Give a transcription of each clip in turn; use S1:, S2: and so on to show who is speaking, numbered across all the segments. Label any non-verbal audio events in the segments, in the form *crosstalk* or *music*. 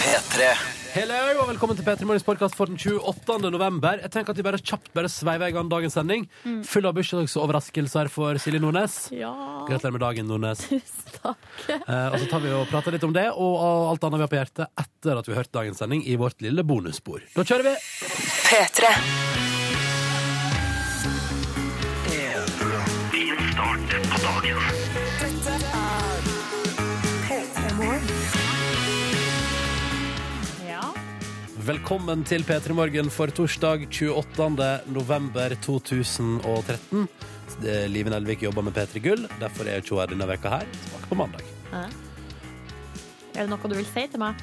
S1: P3.
S2: Hello, og velkommen til P3 Morgens podkast for den 28. november. Jeg tenker at vi bare kjapt bare sveiver i gang dagens sending. Full av bursdagsoverraskelser for Silje Nordnes.
S3: Ja,
S2: Gratulerer med dagen, Nordnes.
S3: tusen takk.
S2: Eh, og så tar vi og prater litt om det og, og alt annet vi har på hjertet etter at vi har hørt dagens sending i vårt lille bonusbord. Da kjører vi!
S4: P3.
S3: Ja.
S2: Velkommen til P3 Morgen for torsdag 28. november 2013. Det- Live Nelvik Eh, jobber med P3 Gull, derfor er ikke hun her denne veka her. Tilbake på mandag.
S3: Er det noe du vil si til meg?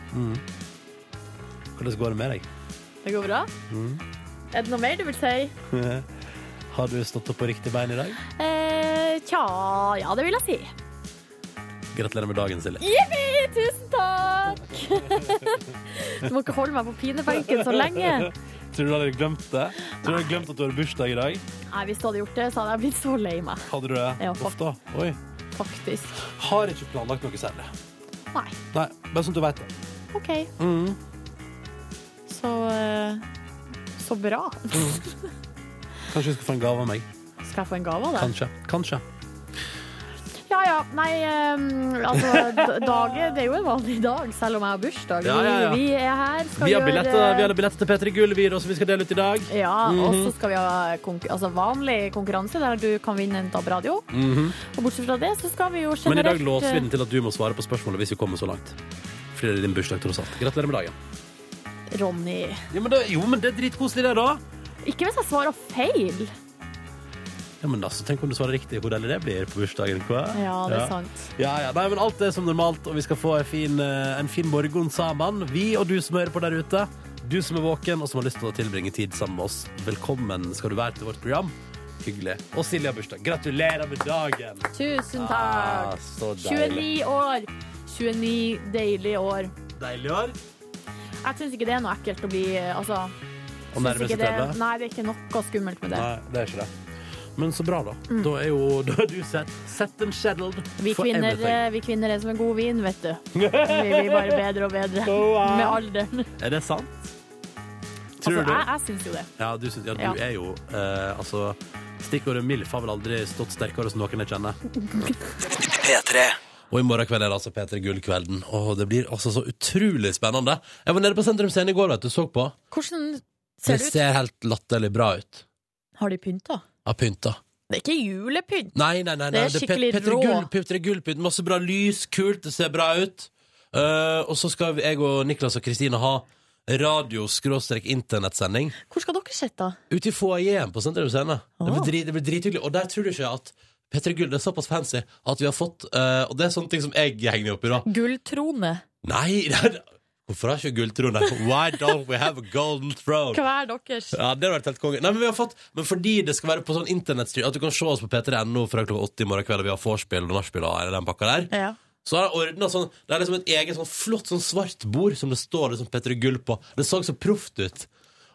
S2: Hvordan går det med deg?
S3: Det går bra? Er det noe mer du vil si?
S2: Har du stått opp på riktig bein i dag?
S3: Eh, tja, ja, det vil jeg si.
S2: Gratulerer med dagen, Silje.
S3: Jippi, tusen takk! *laughs* du må ikke holde meg på pinebenken så lenge.
S2: Tror du du hadde glemt det? Tror du du hadde glemt at du har bursdag i dag?
S3: Nei, Hvis du hadde gjort det, så hadde jeg blitt så lei meg,
S2: Hadde du det?
S3: Ja,
S2: Uff da. Oi.
S3: faktisk.
S2: Har ikke planlagt noe særlig.
S3: Nei,
S2: Nei, bare sånn at du vet det.
S3: OK. Så eh, så bra.
S2: Kanskje du skal få en gave av meg.
S3: Skal jeg få en gave av deg?
S2: Kanskje. Kanskje.
S3: Ja ja. Nei, eh, altså d- dagen Det er jo en vanlig dag, selv om jeg har bursdag.
S2: Ja, ja, ja.
S3: Vi, vi er her. Skal
S2: Vi har Mhm.
S3: gjøre-
S2: billetter, vi hadde billetter til P3 Gull, vi, da, som vi skal dele ut i dag.
S3: Ja, og så skal vi ha konkur altså vanlig konkurranse der du kan vinne en DAB-radio. Og bortsett fra det så skal vi jo generelt
S2: Mhm. Men i dag
S3: eh,
S2: låser vi den til at du må svare på spørsmålet hvis vi kommer så langt. Fordi det er din bursdag, tross alt. Gratulerer med dagen.
S3: Ronny.
S2: Ja, men det, jo, men det er dritkoselig, det, da.
S3: Ikke hvis jeg svarer feil.
S2: Ja, men altså, Tenk om du svarer riktig hvor deilig det blir på bursdagen. Hva?
S3: Ja, det er sant.
S2: Ja, ja, Nei, men alt er som normalt, og vi skal få en fin, eh, en fin morgen sammen. Vi og du som hører på der ute. Du som er våken og som har lyst til å tilbringe tid sammen med oss. Velkommen skal du være til vårt program. Hyggelig. Og Silje har bursdag. Gratulerer med dagen!
S3: Tusen
S2: Ah,
S3: takk.
S2: så deilig.
S3: 29 år. 29 deilige år.
S2: Deilig år.
S3: Jeg syns ikke det er noe ekkelt å bli altså,
S2: Og
S3: synes
S2: nærmest
S3: ikke det,
S2: 30.
S3: Nei, det er ikke noe skummelt med det.
S2: Nei, det er ikke det. Men så bra, da. Da er jo *laughs* da er du set, set and settled
S3: Mm. Vi eh,
S2: for
S3: kvinner, eh,
S2: everything.
S3: vi kvinner er som en god vin, vet du. Vi blir bare bedre og
S2: *laughs*
S3: bedre
S2: Wow.
S3: med alderen.
S2: *laughs* Er det sant? eh,
S3: Altså,
S2: Tror du?
S3: jeg, jeg syns jo det.
S2: Ja, du, syns- ja, du
S3: Ja.
S2: er jo eh, Altså, stikkordet MILF har vel aldri stått sterkere hos noen jeg kjenner.
S1: P3.
S2: Og i morgen kveld er det altså P3 Gull-kvelden. Og det blir altså så utrolig spennende. Jeg var nede på Sentrum Scene i går, vet du. Så på.
S3: Hvordan
S2: Det
S3: ser det ut?
S2: ser helt latterlig bra ut.
S3: Har de pynta?
S2: Av pynta.
S3: Det er ikke julepynt.
S2: Nei, nei, nei. nei.
S3: Det er skikkelig
S2: Petre
S3: rå.
S2: Gull, Petre Gullpynt, masse bra lys, kult, det ser bra ut. Eh, og så skal jeg og Niklas og Kristine ha radio-internettsending
S3: Hvor skal dere sitte?
S2: ute i foajeen på Sentrum Scene. Det blir,
S3: Ah.
S2: drit, det blir drithyggelig. Og der tror du ikke at Petre Gull det er såpass fancy at vi har fått eh, Og det er sånne ting som jeg henger meg opp i, da.
S3: Gulltrone.
S2: Nei, *laughs* det er- hvorfor har ikke gulltrone? Why don't we have a golden throne?
S3: Hver deres.
S2: Ja, det hadde vært helt konge. Nei, men, vi har fått, men fordi det skal være på sånn internettstyr, at du kan se oss på p3.no fra klokka åtte i morgen kveld, og vi har vorspiel og nachspiel og hele den pakka der,
S3: Ja.
S2: så har jeg ordnet sånn Det er liksom et eget sånn flott sånn svart bord som det står liksom P3 Gull på. Det så så proft ut.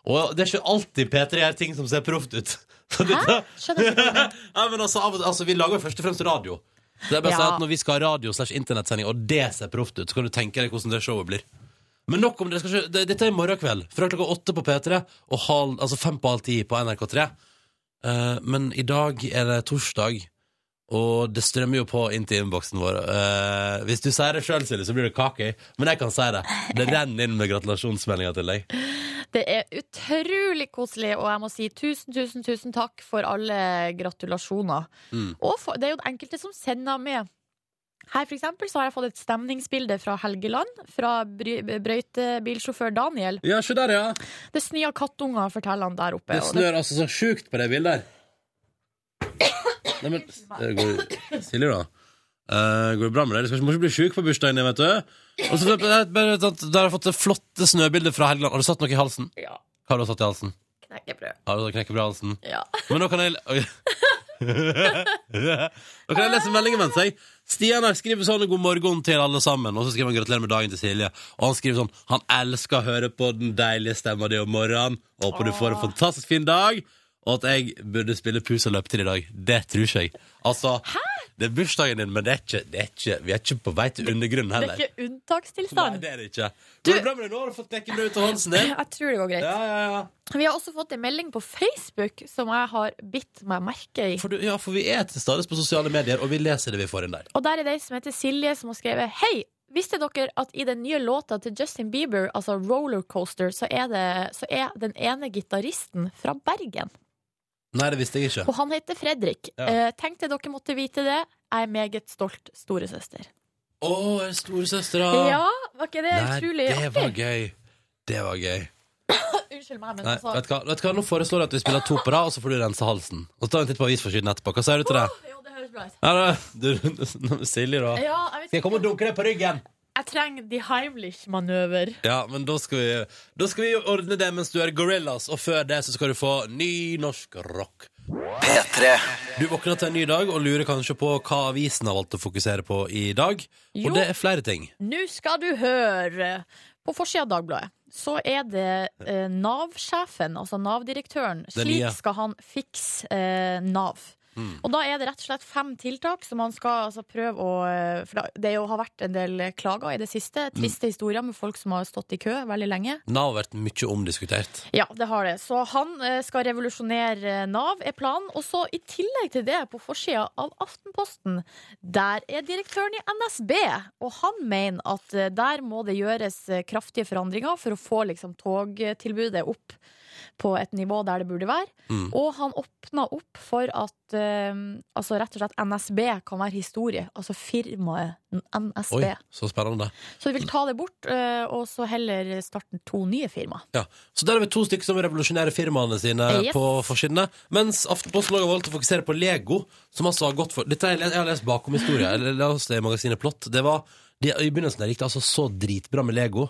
S2: Og det er ikke alltid P3 gjør ting som ser proft ut. *laughs* Så det-
S3: Hæ? Skjønner ikke hva
S2: *laughs* Nei, men altså, av og til- altså, vi lager jo først og fremst radio. Så det er bare å si
S3: Ja.
S2: at Når vi skal ha radio slash internettsending, og det ser proft ut, så kan du tenke deg hvordan det showet blir. Men nok om det. Skal ikke, det- dette er i morgen kveld. Fra klokka åtte på P3 og halv, altså fem på halv ti på NRK3. Eh, men i dag er det torsdag, og det strømmer jo på inn til innboksen vår. Eh, hvis du sier det sjøl, Silje, så blir det kake. Men jeg kan si det. Det renner inn med gratulasjonsmeldinger til deg.
S3: Det er utrolig koselig, og jeg må si tusen, tusen, tusen takk for alle gratulasjoner.
S2: Mm.
S3: Og for, det er jo enkelte som sender med. Her for eksempel så har jeg fått et stemningsbilde fra Helgeland, fra bry- brøytebilsjåfør Daniel.
S2: Ja, se der, ja. Det
S3: Det snør kattunger, forteller han der oppe. og det-
S2: snør altså så sjukt på det bildet der. Nei, men det går, Silje, da. Eh, går det bra med deg? Du skal ikke, må ikke bli sjuk på bursdagen din, vet du. Og så bare, bare, sånn at Der har jeg fått det flotte snøbildet fra Helgeland. Har du satt noe i halsen?
S3: Ja,
S2: Hva har du satt i halsen?
S3: knekkebrød.
S2: Har du knekket bra halsen?
S3: Ja.
S2: Men nå kan jeg Oi. Nå kan jeg lese meldingen mens jeg Stian her skriver sånn 'God morgen til alle sammen', og så skriver han 'Gratulerer med dagen' til Silje. Og han skriver sånn 'Han elsker å høre på den deilige stemma di om morgenen'. 'Håper du får en fantastisk fin dag'. Og at jeg burde spille pus og løpe til i dag. Det tror ikke jeg. Altså, det er bursdagen din, men det er ikke, det er ikke, vi er ikke på vei til undergrunnen
S3: Det er
S2: heller.
S3: ikke
S2: Nei,
S3: unntakstilstand.
S2: det er det ikke. Går det bra med deg nå? Har du fått dekket brød ut av halsen din?
S3: Jeg tror det går greit.
S2: Ja, ja, ja.
S3: Vi har også fått en melding på Facebook som jeg har bitt meg merke i.
S2: For, du, ja, for vi er til stades på sosiale medier, og vi leser det vi får inn der.
S3: Og der er det ei som heter Silje, som har skrevet Hei! Visste dere at i den nye låta til Justin Bieber, altså 'Rollercoaster', så er, det, så er den ene gitaristen fra Bergen?
S2: Nei, det visste jeg ikke.
S3: Og han heter Fredrik.
S2: Ja.
S3: Eh, tenkte dere måtte vite det. Jeg er meget stolt storesøster.
S2: Å, er det storesøstera?
S3: Ja, var ikke det utrolig
S2: Nei, det var
S3: artig?
S2: gøy. Det var gøy.
S3: *laughs* Unnskyld meg, men
S2: Nei,
S3: altså
S2: vet du hva? Vet du hva? Nå foreslår jeg at vi spiller to på rad, og så får du rense halsen. Og så tar vi en titt på avisforsiden etterpå. Hva sier du til det?
S3: Jo, det høres bra ut.
S2: Ja, da, du, Silje, da.
S3: Ja, jeg, vet
S2: Skal jeg komme og
S3: ikke.
S2: dunke deg på ryggen?
S3: jeg trenger de Heimlich-manøver.
S2: Ja, men da skal vi Da skal vi ordne det mens du er gorillas, og før det så skal du få ny norsk rock.
S1: P3.
S2: Du våkner til en ny dag og lurer kanskje på hva avisen har valgt å fokusere på i dag.
S3: Jo.
S2: Og det er flere ting.
S3: Nå skal du høre! På forsida av Dagbladet så er det eh, Nav-sjefen, altså Nav-direktøren.
S2: Den
S3: Slik
S2: nye.
S3: skal han fikse eh, Nav. Og da er det rett og slett fem tiltak som han skal altså, prøve å eh, For da- det er jo, har vært en del klager i det siste. Triste historier med folk som har stått i kø veldig lenge.
S2: Nav har vært mye omdiskutert.
S3: Ja, det har det. Så han eh, skal revolusjonere eh, Nav, er planen. Og så i tillegg til det, på forsida av Aftenposten, der er direktøren i NSB. Og han mener at eh, der må det gjøres eh, kraftige forandringer for å få liksom, togtilbudet opp på et nivå der det burde være.
S2: Mm.
S3: Og han åpna opp for at eh, altså rett og slett NSB kan være historie. Altså firmaet NSB.
S2: Oi, så spennende.
S3: Så de vil ta det bort, eh, og så heller starte to nye firma.
S2: Ja. Så der har vi to stykker som revolusjonerer firmaene sine
S3: Eh, Yes.
S2: på forsidene. Mens Aftenposten også har valgt å fokusere på Lego, som altså har gått for Dette har jeg, jeg har lest bakom historien, eller la oss det i magasinet Plott. Det var, de, I begynnelsen der gikk det altså så dritbra med Lego.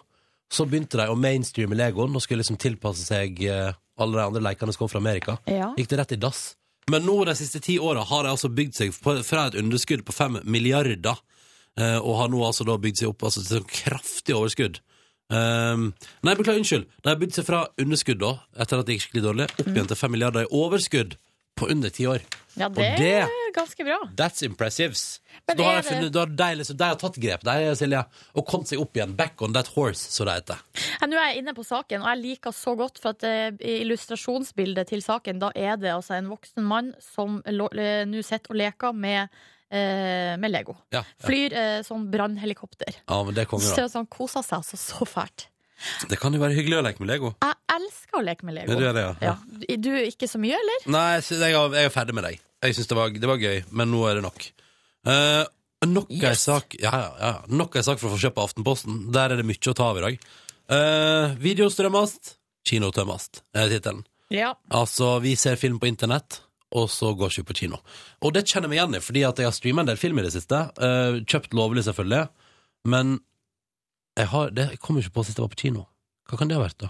S2: Så begynte de å mainstreame Legoen og skulle liksom tilpasse seg eh, alle de andre lekene som kom fra Amerika.
S3: Ja.
S2: Gikk det rett i dass. Men nå de siste ti åra har de altså bygd seg på- fra et underskudd på fem milliarder, eh, og har nå altså da bygd seg opp altså, til et kraftig overskudd. Ehm, nei, beklager, unnskyld. De har bygd seg fra underskudd da, etter at det gikk skikkelig dårlig, opp igjen til fem milliarder i overskudd på under ti år.
S3: Ja, det,
S2: det-
S3: er ganske bra.
S2: That's impressives. Så
S3: Men
S2: da har
S3: er
S2: de,
S3: det-
S2: funnet, da har de, liksom, de har tatt grep, de, Silje, og kommet seg opp igjen. Back on that horse, så det heter.
S3: Ja, Nå er jeg inne på saken, og jeg liker så godt for at eh, i illustrasjonsbildet til saken, da er det altså en voksen mann som lo- eh, nå sitter og leker med, eh, med Lego.
S2: Ja, ja.
S3: Flyr eh, sånn brannhelikopter.
S2: ja men det er konge, da.
S3: Så han koser seg altså så fælt.
S2: Det kan jo være hyggelig å leke med Lego.
S3: Jeg elsker å leke med Lego.
S2: Ja, du gjør det, ja.
S3: ja. Du- Du ikke så mye, eller?
S2: Nei, jeg, synes- jeg, er- jeg er ferdig med deg. Jeg syns det, var- det var gøy, men nå er det nok. Eh, nok ei
S3: Yes.
S2: sak Ja, ja, ja. Nok ei sak for å få kjøpt på Aftenposten. Der er det mye å ta av i dag. Eh, video strømmast, kino tømmast, er tittelen.
S3: Ja.
S2: Altså, vi ser film på internett, og så går ikke vi på kino. Og det kjenner jeg meg igjen i, fordi at jeg har streama en del film i det siste. eh, kjøpt lovlig, selvfølgelig. Men jeg, har, det, jeg kom ikke på sist jeg var på kino. Hva kan det ha vært, da?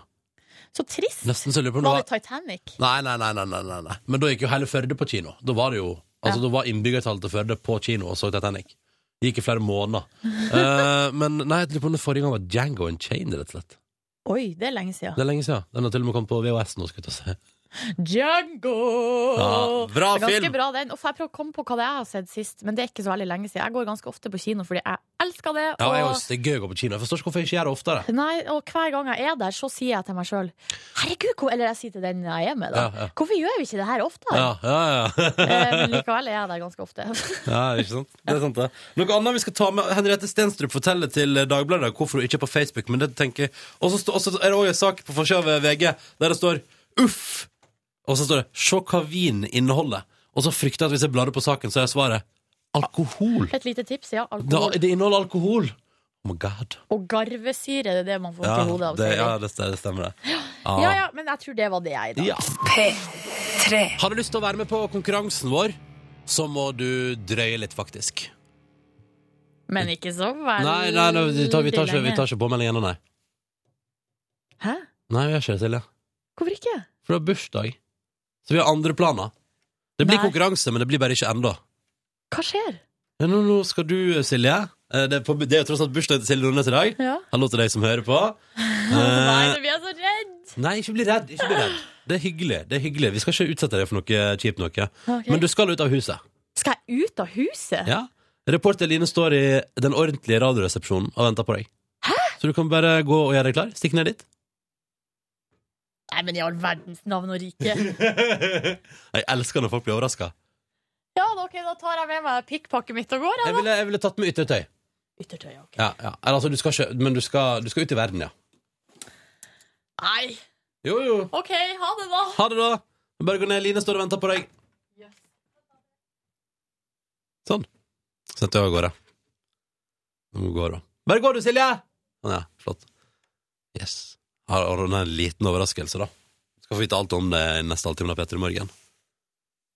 S3: Så trist.
S2: Nesten så jeg lurer på om det
S3: Var
S2: var-
S3: det Titanic?
S2: Nei, nei, nei, nei, nei, nei, nei. Men da gikk jo hele Førde på kino. Da var det jo Altså, da var innbyggertallet til Førde på kino og så Titanic. Det gikk i flere måneder. Eh, men nei, jeg lurer på om det forrige gang var Django and Chain, rett og slett.
S3: Oi, det er lenge siden.
S2: Det er lenge siden. Den har til og med kommet på VHS nå, skal vi ta se.
S3: Django!
S2: bra
S3: Det er Ganske bra den. Og jeg prøver å komme på hva det er jeg har sett sist, men det er ikke så veldig lenge siden. Jeg går ganske ofte på kino fordi jeg elsker det.
S2: Ja, jeg
S3: og...
S2: også, det er gøy å gå på kino. Jeg forstår ikke hvorfor jeg ikke gjør det oftere.
S3: Nei, og hver gang jeg er der, så sier jeg til meg sjøl Herregud, hvor, eller jeg sier til den jeg er med, da.
S2: Ja, ja.
S3: Hvorfor gjør vi ikke det her oftere?
S2: Ja, ja, ja.
S3: Eh, men likevel er jeg der ganske ofte. *laughs*
S2: ja ikke sant? Det er sant, det. Noe annet vi skal ta med Henriette Stenstrup forteller til eh, Dagbladet hvorfor hun ikke er på Facebook, men det tenker jeg Og så stå- og så er det òg en sak på forsida av VG der det står 'uff', og så står det 'se hva vin inneholder', og så frykter jeg at hvis jeg blar opp på saken, så er svaret alkohol.
S3: Et lite tips, ja.
S2: Det,
S3: Alkohol
S2: det inneholder alkohol. Oh my god.
S3: og garvesyre, det er det man får til hodet av.
S2: det,
S3: sier de.
S2: ja, det, det stemmer, det.
S3: ja, ja, men jeg tror det var det jeg, da.
S2: Ja. Har du lyst til å være med på konkurransen vår, så må du drøye litt, faktisk.
S3: Men ikke så veldig
S2: Nei, nei, nei vi, tar, vi, tar ikke, vi tar ikke påmelding ennå, nei.
S3: Hæ?
S2: Nei, vi gjør ikke det, Silje.
S3: Hvorfor ikke?
S2: For du har bursdag. Så vi har andre planer. Det blir
S3: Nei.
S2: konkurranse, men det blir bare ikke ennå.
S3: Hva skjer?
S2: Ja, nå, nå skal du, Silje. eh, Det er, på, det er jo tross alt bursdagen til Silje Nordnes i dag.
S3: Ja.
S2: Hallo til deg som hører på.
S3: Nei,
S2: Eh,
S3: nå blir jeg så redd!
S2: Nei, ikke bli redd. Ikke bli redd. Det er hyggelig. det er hyggelig Vi skal ikke utsette deg for noe kjipt noe.
S3: Ok.
S2: Men du skal ut av huset.
S3: Skal jeg ut av huset?
S2: Ja. Reporter Line står i den ordentlige radioresepsjonen og venter på deg. Så du kan bare gå og gjøre deg klar. Stikk ned dit.
S3: Nei, men i all verdens navn og rike.
S2: Jeg elsker når folk blir overraska.
S3: *laughs* Ja, da, ok, da tar jeg med meg pikkpakket mitt og går.
S2: Jeg,
S3: Jeg, da.
S2: ville- jeg ville tatt med yttertøy.
S3: Yttertøy, ok.
S2: Ja, ja. Eller, altså, du skal ikke, men du skal, du skal ut i verden, ja.
S3: Nei,
S2: Jo, jo.
S3: ok, ha det da.
S2: Ha det, da. Bare gå ned. Line står og venter på deg.
S3: Yes.
S2: Sånn. Sendte jeg av gårde. Nå må hun gå, da. Bare gå, du, Silje! Sånn, ja. Flott. Yes. Her har hun en liten overraskelse, da. Skal få vite alt om det i neste halvtime av Petter i morgen.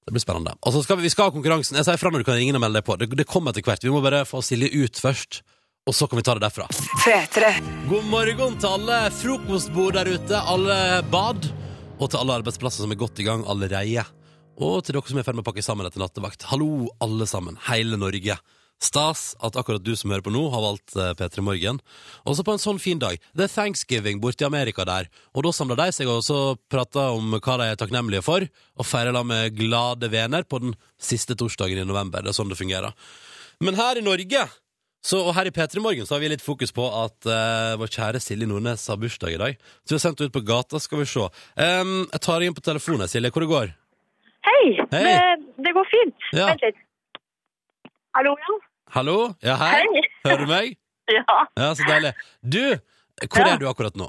S2: Det blir spennende. Og så skal vi, vi skal ha konkurransen. Jeg sier fra når du kan ringe og melde deg på. Det, det kommer etter hvert. Vi må bare få Silje ut først, og så kan vi ta det derfra.
S1: P3.
S2: God morgen til alle frokostbord der ute, alle bad, og til alle arbeidsplasser som er godt i gang allerede. Og til dere som er i ferd med å pakke sammen etter nattevakt. Hallo, alle sammen. Hele Norge. Stas at akkurat du som hører på nå, har valgt eh, P3 Morgen. Også på en sånn fin dag. Det er thanksgiving borte i Amerika der, og da samler de seg og så prater om hva de er takknemlige for, og feirer da med glade venner på den siste torsdagen i november. Det er sånn det fungerer. Men her i Norge så, og her i P3 Morgen så har vi litt fokus på at eh, vår kjære Silje Nordnes har bursdag i dag. Så vi har sendt henne ut på gata. Skal vi se. Em, jeg tar deg inn på telefonen, Silje. Hvor det går?
S4: Hei,
S2: Hei.
S4: Det, det går fint.
S2: Ja.
S4: Vent litt. Hallo, ja?
S2: Hallo? Ja, hei?
S4: Hei.
S2: Hører du meg?
S4: Ja.
S2: Ja, så deilig. Du, hvor
S4: Ja.
S2: er du akkurat nå?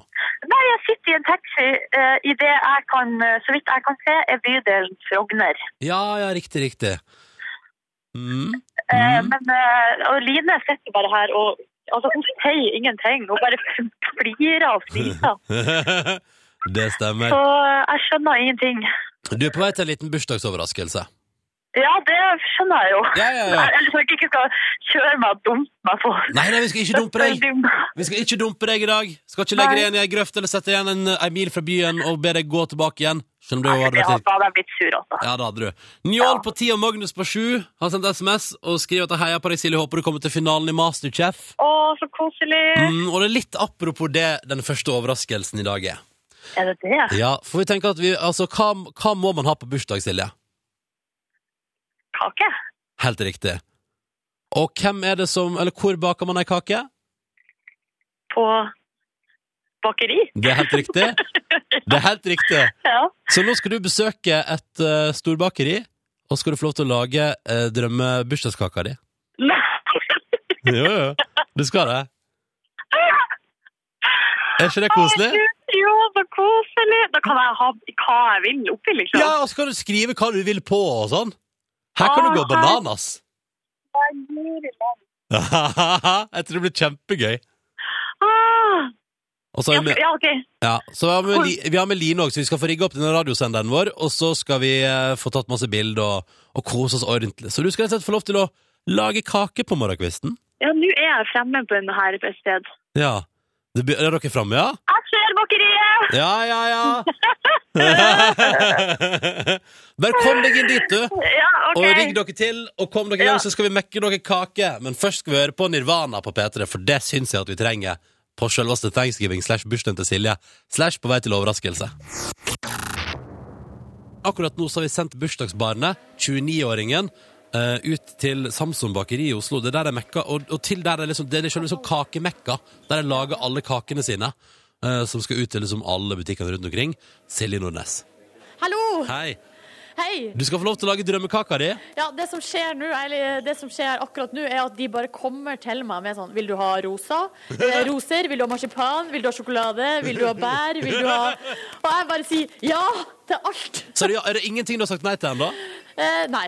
S4: Nei, jeg sitter i en taxi eh, i det jeg kan, eh, så vidt jeg kan se, er bydelen Frogner.
S2: Ja, ja, riktig, riktig. Mm. *laughs*
S4: Eh,
S2: Mm.
S4: men eh, og Line sitter bare her og altså, hun sier ingenting. Hun bare flirer
S2: *laughs*
S4: og flirer.
S2: Det
S4: Så
S2: stemmer.
S4: eh, jeg skjønner ingenting.
S2: Du er på vei til en liten bursdagsoverraskelse.
S4: Ja, det skjønner jeg jo.
S2: Ja, ja, ja.
S4: Ellers skal jeg ikke skal kjøre meg og dumpe meg på.
S2: Nei, nei, vi skal ikke dumpe deg. Vi skal ikke dumpe deg i dag. Skal ikke legge deg igjen i ei grøft eller sette igjen en, en mil fra byen og be deg gå tilbake igjen. Skjønner du
S4: Nei,
S2: hva
S4: det
S2: det
S4: hadde-
S2: betyr?
S4: da hadde jeg blitt sur, altså.
S2: Ja, det hadde du. Njål på ti og Magnus på sju har sendt SMS og skriver at jeg heier på deg, Silje. Håper du kommer til finalen i Masterchef.
S4: Å, så koselig.
S2: Mm, og det er litt apropos det den første overraskelsen i dag er.
S4: Er det det?
S2: Ja, for vi tenker at vi, altså, hva, hva må man ha på bursdag, Silje?
S4: Kake?
S2: Helt riktig. Og hvem er det som, eller hvor baker man ei kake?
S4: på bakeri.
S2: Det er helt riktig. Det er helt riktig.
S4: *laughs* Ja.
S2: Så nå skal du besøke et eh, storbakeri, og skal du få lov til å lage uh, drømmebursdagskaka di. Jo, jo. Du skal det. Er ikke det koselig?
S4: Jo, så koselig! Da kan jeg ha hva jeg vil oppi, liksom.
S2: Ja, og så kan du skrive hva du vil på og sånn. Her kan du gå bananas. *laughs* Jeg tror det blir kjempegøy.
S4: Ah,
S2: Og så har vi med,
S4: ja, ok.
S2: ja, så har vi, med Li- vi har med Line òg, så vi skal få rigge opp denne radiosenderen vår. Og så skal vi eh, få tatt masse bilder og, og kose oss ordentlig. Så du skal rett og slett få lov til å lage kake på morgenkvisten.
S4: Ja, nå er jeg fremme på denne her et sted.
S2: Ja. Det, be- er dere framme, ja?
S4: Jeg ser bakeriet!
S2: Ja, ja, *laughs* ja. Bare kom deg inn dit, du.
S4: Ja, ok.
S2: Og rigg dere til, og kom dere i gang,
S4: Ja.
S2: så skal vi mekke dere kake. Men først skal vi høre på Nirvana på P3, for det syns jeg at vi trenger. På selveste thanksgiving slash bursdagen til Silje. Slash på vei til overraskelse. Akkurat nå så har vi sendt bursdagsbarnet, 29-åringen, eh, ut til Samson bakeri i Oslo. Det er der de mekka, og, og til der de liksom, det er liksom, liksom kakemekka, der de lager alle kakene sine. eh, som skal ut til liksom alle butikkene rundt omkring. Silje Nordnes.
S3: Hallo!
S2: Hei.
S3: Hei!
S2: Du skal få lov til å lage drømmekaka di.
S3: Ja, det som skjer nå, eller det som skjer akkurat nå, er at de bare kommer til meg med sånn Vil du ha rosa? Eh, Roser? Vil du ha marsipan? Vil du ha sjokolade? Vil du ha bær? Vil du ha Og jeg bare sier ja til alt.
S2: Så er det, er det ingenting du har sagt nei til ennå?
S3: Eh, nei.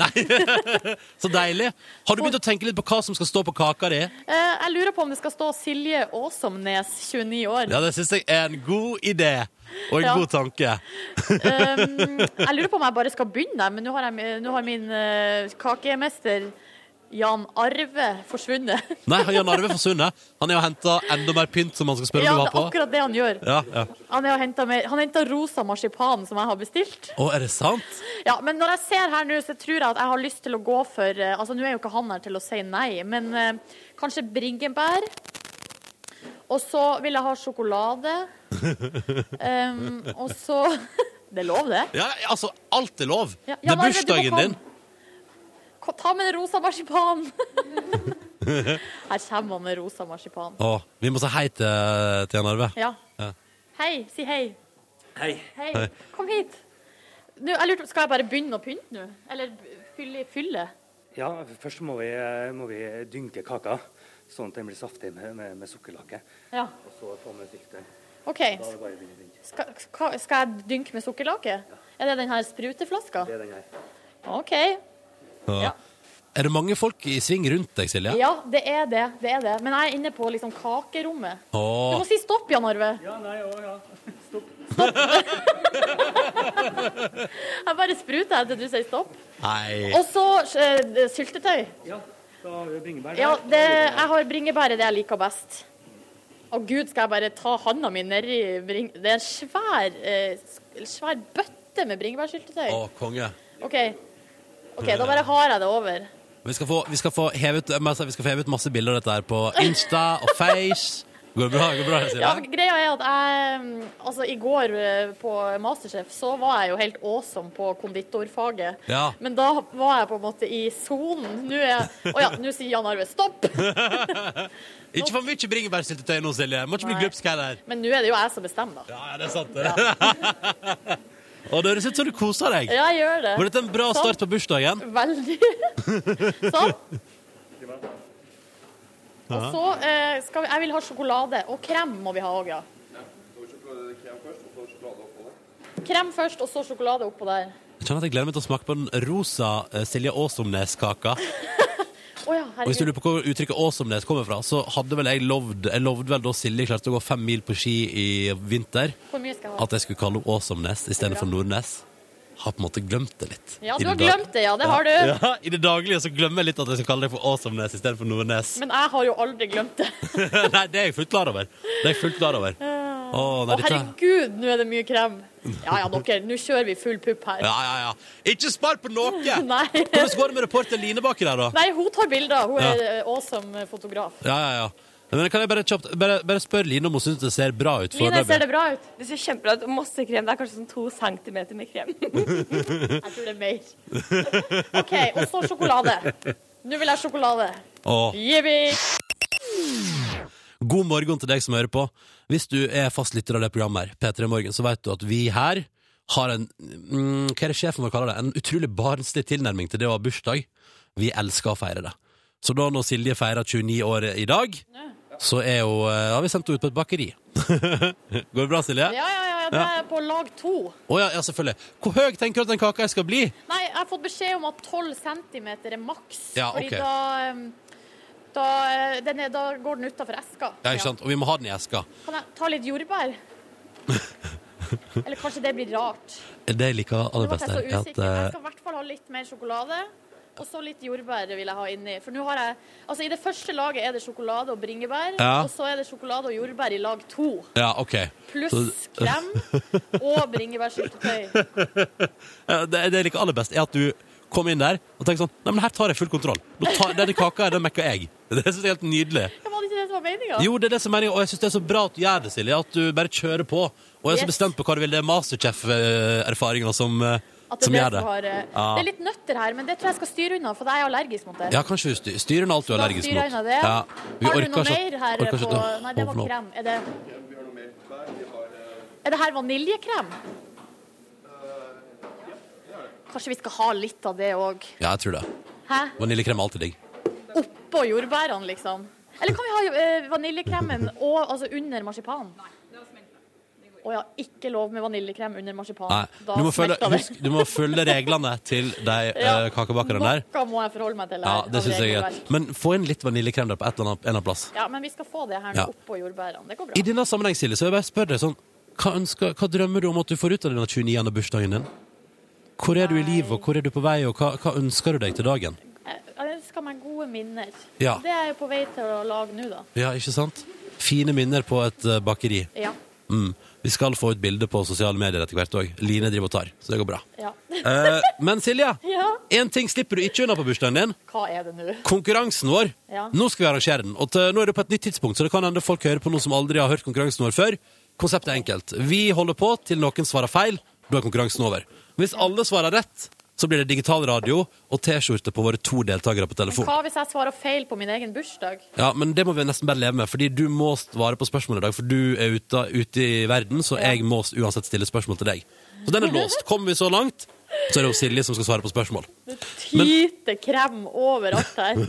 S2: Nei. *laughs* Så deilig. Har du begynt å tenke litt på hva som skal stå på kaka di?
S3: *laughs* Eh, jeg lurer på om det skal stå Silje Åsomnes, 29 år.
S2: Ja, det syns jeg er en god idé. Og en
S3: Ja.
S2: god tanke.
S3: Um, jeg lurer på om jeg bare skal begynne, der, men nå har, jeg, nå har min eh, kakemester Jan Arve forsvunnet.
S2: Nei, han Jan Arve forsvunnet. Han er jo henta enda mer pynt som han skal spørre
S3: Ja,
S2: om
S3: det
S2: du
S3: er
S2: har på.
S3: akkurat det han gjør.
S2: Ja, ja.
S3: Han har henta mer- han hentet rosa marsipan som jeg har bestilt.
S2: Å, er det sant?
S3: Ja, Men når jeg ser her nå, så tror jeg at jeg har lyst til å gå for eh, Altså, nå er jo ikke han her til å si nei, men
S2: *laughs*
S3: eh, kanskje bringebær. Og så vil jeg ha sjokolade. Um, og så *laughs* Det er lov, det.
S2: Ja, altså, alt er lov.
S3: Ja,
S2: det
S3: Jan
S2: er
S3: Arve, du må
S2: bursdagen din.
S3: Ko- Ta med den rosa marsipanen! *laughs* Her kommer han med rosa marsipan.
S2: Å, vi må si hei til, til Jan Arve.
S3: Ja.
S2: Ja.
S3: Hei, si hei.
S1: Hei.
S3: Hei.
S2: Hei.
S3: Kom hit. Nå, jeg lurte, skal jeg bare begynne å pynte nå? Eller b- fylle? fylle?
S5: Ja, først må vi, må vi dynke kaka, sånn at den blir saftig med, med, med sukkerlake.
S3: Ja.
S5: Og så på med sikteren.
S3: OK.
S5: Da er det bare å begynne å dynke.
S3: Skal, ska- skal jeg dynke med sukkerlake? Er det den her spruteflaska?
S5: Det er den her.
S3: OK.
S2: Ja.
S3: Ja.
S2: Er det mange folk i sving rundt deg, Silje?
S3: Ja, det er det. det er det. Men jeg er inne på liksom kakerommet. Du
S2: Å,
S3: må si stopp, Jan Arve.
S5: Ja, nei, å, ja. Stopp.
S3: Jeg bare spruter jeg til du sier stopp.
S2: nei.
S3: Og så eh, syltetøy.
S5: Ja, da har vi bringebær
S3: Ja,
S5: der.
S3: det, jeg har bringebær er det jeg liker best. Å gud, skal jeg bare ta handa mi nedi bring... Det er en svær, eh, sk- svær bøtte med bringebærsyltetøy.
S2: Å, konge.
S3: OK. OK, da bare har jeg det over.
S2: Vi skal få, vi skal få, hevet, jeg må si, vi skal få hevet masse bilder av dette her på Insta og Face. Går det bra, går det bra Silje?
S3: Ja, greia er at jeg mm, Altså, i går eh, på Masterchef så var jeg jo helt awesome på konditorfaget.
S2: Ja.
S3: Men da var jeg på en måte i sonen. Nå er jeg Å ja, nå sier Jan Arve stopp!
S2: Ikke for mye bringebærsyltetøy nå, Silje. Må ikke bli
S3: Nei.
S2: glupsk her. der.
S3: Men nå er det jo jeg som bestemmer, da.
S2: Ja, ja, det er sant. *laughs* det. Og det høres ut som du koser deg.
S3: Ja, jeg gjør det.
S2: Var dette en bra
S3: Sant.
S2: start på bursdagen? *laughs*
S3: Veldig. Sånn. Og så eh, skal vi Jeg vil ha sjokolade. Og krem må vi ha òg, ja. Krem først, og så sjokolade oppå der.
S2: Jeg kjenner at jeg gleder meg til å smake på den rosa eh, Silje Åsomnes-kaka.
S3: Å ja,
S2: Og hvis du
S3: herregud.
S2: lurer på hvor uttrykket Åsomnes kommer fra, så hadde vel jeg lovd Jeg lovde vel da Silje klarte å gå fem mil på ski i vinter,
S3: Hvor mye skal jeg ha?
S2: at jeg skulle kalle henne Åsomnes istedenfor Nordnes. Har på en måte glemt det litt.
S3: Ja,
S2: I
S3: du har
S2: dag-
S3: glemt det, ja. Det har du.
S2: Ja, I det daglige så glemmer jeg litt at jeg skal kalle deg for Åsomnes istedenfor Nordnes. *laughs*
S3: Men jeg har jo aldri glemt det.
S2: nei, det er jeg fullt klar over. Det er jeg fullt klar over. Å, nei,
S3: Å
S2: dette...
S3: herregud, nå er det mye krem. Ja ja, dere, nå kjører vi full pupp her.
S2: Ja, ja, ja. Ikke spar på noe!
S3: *laughs* Nei.
S2: Hvordan går det med reporter Line baki der, da?
S3: Nei, hun tar bilder. Hun er eh, awesome fotograf.
S2: Ja, ja, ja. Men kan jeg bare, kjapt, bare, bare spørre Line om hun syns det ser bra ut
S3: Line, ser
S2: foreløpig?
S3: det bra ut?
S6: Det ser kjempebra ut. Masse krem. Det er kanskje sånn to centimeter med krem.
S3: *laughs* Jeg tror det er mer. *laughs* OK, og så sjokolade. Nå vil jeg sjokolade.
S2: Å,
S3: Jippi!
S2: God morgen til deg som hører på. Hvis du er fast lytter av det programmet her, P3 Morgen, så vet du at vi her har en mm, Hva er det sjefen vår kaller det? En utrolig barnslig tilnærming til det å ha bursdag. Vi elsker å feire det. Så da når Silje feirer 29 år i dag, så er jo, eh, har vi sendt henne ut på et bakeri. *laughs* Går det bra, Silje?
S3: Ja, ja, ja, ja, det er på lag to.
S2: Å ja, ja, selvfølgelig. Hvor høy tenker du at den kaka skal bli?
S3: Nei, jeg har fått beskjed om at 12 cm er maks.
S2: Ja, ok.
S3: Fordi da, um, da, eh, den er, da går den utafor eska.
S2: Ja, ikke sant? Og vi må ha den i eska.
S3: Kan jeg ta litt jordbær? *laughs* Eller kanskje det blir rart.
S2: Det jeg liker
S3: Nå
S2: aller
S3: ble
S2: best,
S3: jeg så
S2: her, er at
S3: usikker. Jeg
S2: eh,
S3: skal i hvert fall ha litt mer sjokolade. Og så litt jordbær vil jeg ha inni. For nå har jeg Altså, i det første laget er det sjokolade og bringebær.
S2: Ja.
S3: Og så er det sjokolade og jordbær i lag to.
S2: Ja, OK.
S3: Pluss
S2: Så- *laughs*
S3: krem og bringebærsyltetøy.
S2: Eh, Det, det jeg liker aller best, er at du kommer inn der og tenker sånn Nei, men her tar jeg full kontroll. Nå tar, denne kaka her, den mekker jeg. *laughs* Det synes jeg er helt nydelig.
S3: Det var ikke det som var meninga.
S2: Jo, det er det som er meningen, og jeg synes det er så bra at du gjør det, Silje. At du bare kjører på. Og jeg er så
S3: Yes.
S2: bestemt på hva du vil. Det er Masterchef-erfaringa som, eh,
S3: At det,
S2: som
S3: er
S2: gjør
S3: det,
S2: det.
S3: som har, eh,
S2: Ja.
S3: det er litt nøtter her, men det tror jeg skal styre unna, for jeg er allergisk mot det.
S2: Ja, kanskje du styr, styrer den alt du er
S3: Da
S2: allergisk
S3: styrer jeg
S2: mot.
S3: unna det.
S2: Ja. Vi
S3: har du
S2: orker
S3: noe
S2: ikke-
S3: mer her
S2: orker ikke-
S3: på
S2: Åh,
S3: Nei, det var
S2: forlåt.
S3: krem. Er det, er det her vaniljekrem? Kanskje vi skal ha litt av det òg?
S2: Ja, jeg tror det.
S3: Hæ?
S2: Vaniljekrem er alltid digg.
S3: Oppå jordbærene, liksom? Eller kan vi ha eh, vaniljekremen og, altså, under marsipanen? Å ja, ikke lov med vaniljekrem
S2: Nei.
S3: under marsipanen.
S2: Du må, følge, husk, du må følge reglene til de
S3: *laughs*
S2: eh, kakebakerne der.
S3: Noe må jeg forholde meg til.
S2: Ja,
S3: her
S2: det
S3: av
S2: synes jeg er
S3: regelverk.
S2: greit. Men få inn litt vaniljekrem der på et eller annet, en eller annen plass.
S3: Ja, men vi skal få det her nå
S2: Ja.
S3: oppå jordbærene. Det går
S2: I
S3: bra.
S2: denne sammenheng, Silje, så vil jeg bare spørre deg sånn hva, ønsker, hva drømmer du om at du får ut av denne 29. bursdagen din? Hvor er du i livet, og hvor er du på vei, og hva, hva ønsker du deg til dagen?
S3: Jeg jeg ønsker meg gode minner.
S2: Ja.
S3: Det er jeg på vei til å lage nå, da.
S2: Ja, ikke sant? Fine minner på et eh, bakeri.
S3: Ja.
S2: Mm. Vi skal få ut bilde på sosiale medier etter hvert òg. Line driver og tar, så det går bra.
S3: ja.
S2: Eh, men Silje,
S3: *laughs* Ja.
S2: én ting slipper du ikke unna på bursdagen din.
S3: Hva er det nå?
S2: Konkurransen vår.
S3: Ja.
S2: eh, Nå skal vi arrangere den. Og til, nå er det på et nytt tidspunkt, så det kan hende folk hører på noe som aldri har hørt konkurransen vår før. Konseptet er enkelt. Vi holder på til noen svarer feil. Da er konkurransen over. Hvis alle svarer rett, så blir det digital radio og T-skjorte på våre to deltakere på telefon.
S3: Hva hvis jeg svarer feil på min egen bursdag?
S2: Ja, men det må vi nesten bare leve med, fordi du må svare på spørsmålet i dag, for du er ute, ute i verden, så jeg må uansett stille spørsmål til deg. Så
S3: *laughs*
S2: den er låst. Kommer vi så langt, så er det jo Silje som skal svare på spørsmål.
S3: Tyter krem overalt
S2: *laughs*
S3: her.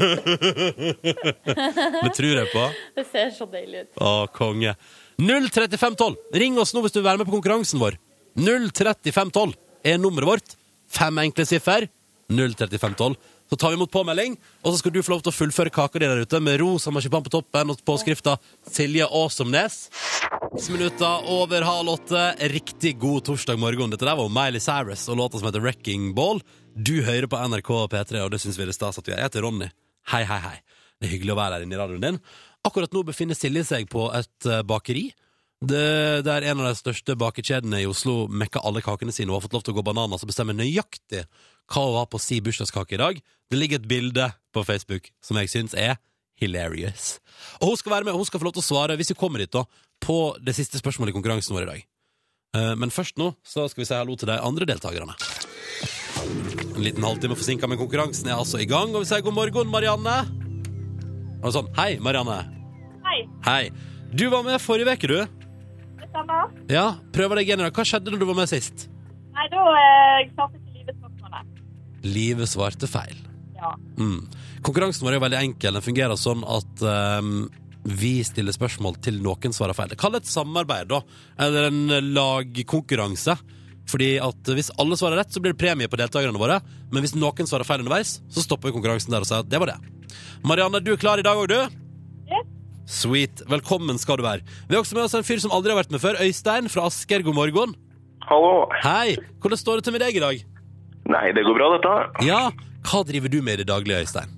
S2: Det tror jeg på.
S3: Det ser så deilig ut.
S2: Å, konge. 03512. Ring oss nå hvis du vil være med på konkurransen vår. 03512 er nummeret vårt. Fem enkle siffer. 03512. Så tar vi imot påmelding, og så skal du få lov til å fullføre kaka di der ute med rosa marsipan på toppen og påskrifta Silje Åsomnes. Seks minutter over halv åtte. Riktig god torsdag morgen. Dette der var Miley Cyrus og låta som heter 'Wrecking Ball'. Du hører på NRK og P3, og det syns vi det er stas at du er. Jeg heter Ronny. Hei, hei, hei. Det er hyggelig å være her inne i radioen din. Akkurat nå befinner Silje seg på et eh, bakeri. Det, der en av de største bakekjedene i Oslo mekker alle kakene sine og har fått lov til å gå bananas og bestemme nøyaktig hva hun har på si bursdagskake i dag. Det ligger et bilde på Facebook som jeg syns er hilarious. Og hun skal være med, og hun skal få lov til å svare, hvis vi kommer dit da, på det siste spørsmålet i konkurransen vår i dag. Eh, Men først nå så skal vi si hallo til de andre deltakerne. En liten halvtime forsinka, men konkurransen er altså i gang. Og vi sier god morgen, Marianne. Og sånn, Hei, Marianne.
S4: Hei.
S2: Hei. Du var med forrige uke, du.
S4: Det samme.
S2: Ja, prøver deg igjen i dag. Hva skjedde når du var med sist?
S4: Nei, da eh, klarte ikke livet spørsmålet.
S2: Livet svarte feil.
S4: Ja.
S2: Mm. Konkurransen vår er jo veldig enkel. Den fungerer sånn at ehm, vi stiller spørsmål til noen svarer feil. Kall det et samarbeid, da. Eller en lagkonkurranse. Fordi at hvis alle svarer rett, så blir det premie på deltakerne våre. Men hvis noen svarer feil underveis, så stopper vi konkurransen der og sier at det var det. Marianne, du er klar i dag òg, du?
S4: Yes.
S2: Sweet. Velkommen skal du være. Vi har også med oss en fyr som aldri har vært med før. Øystein fra Asker, god morgen.
S7: Hallo.
S2: Hei. Hvordan står det til med deg i dag?
S7: Nei, det går bra, dette.
S2: Ja, hva driver du med i det daglige, Øystein?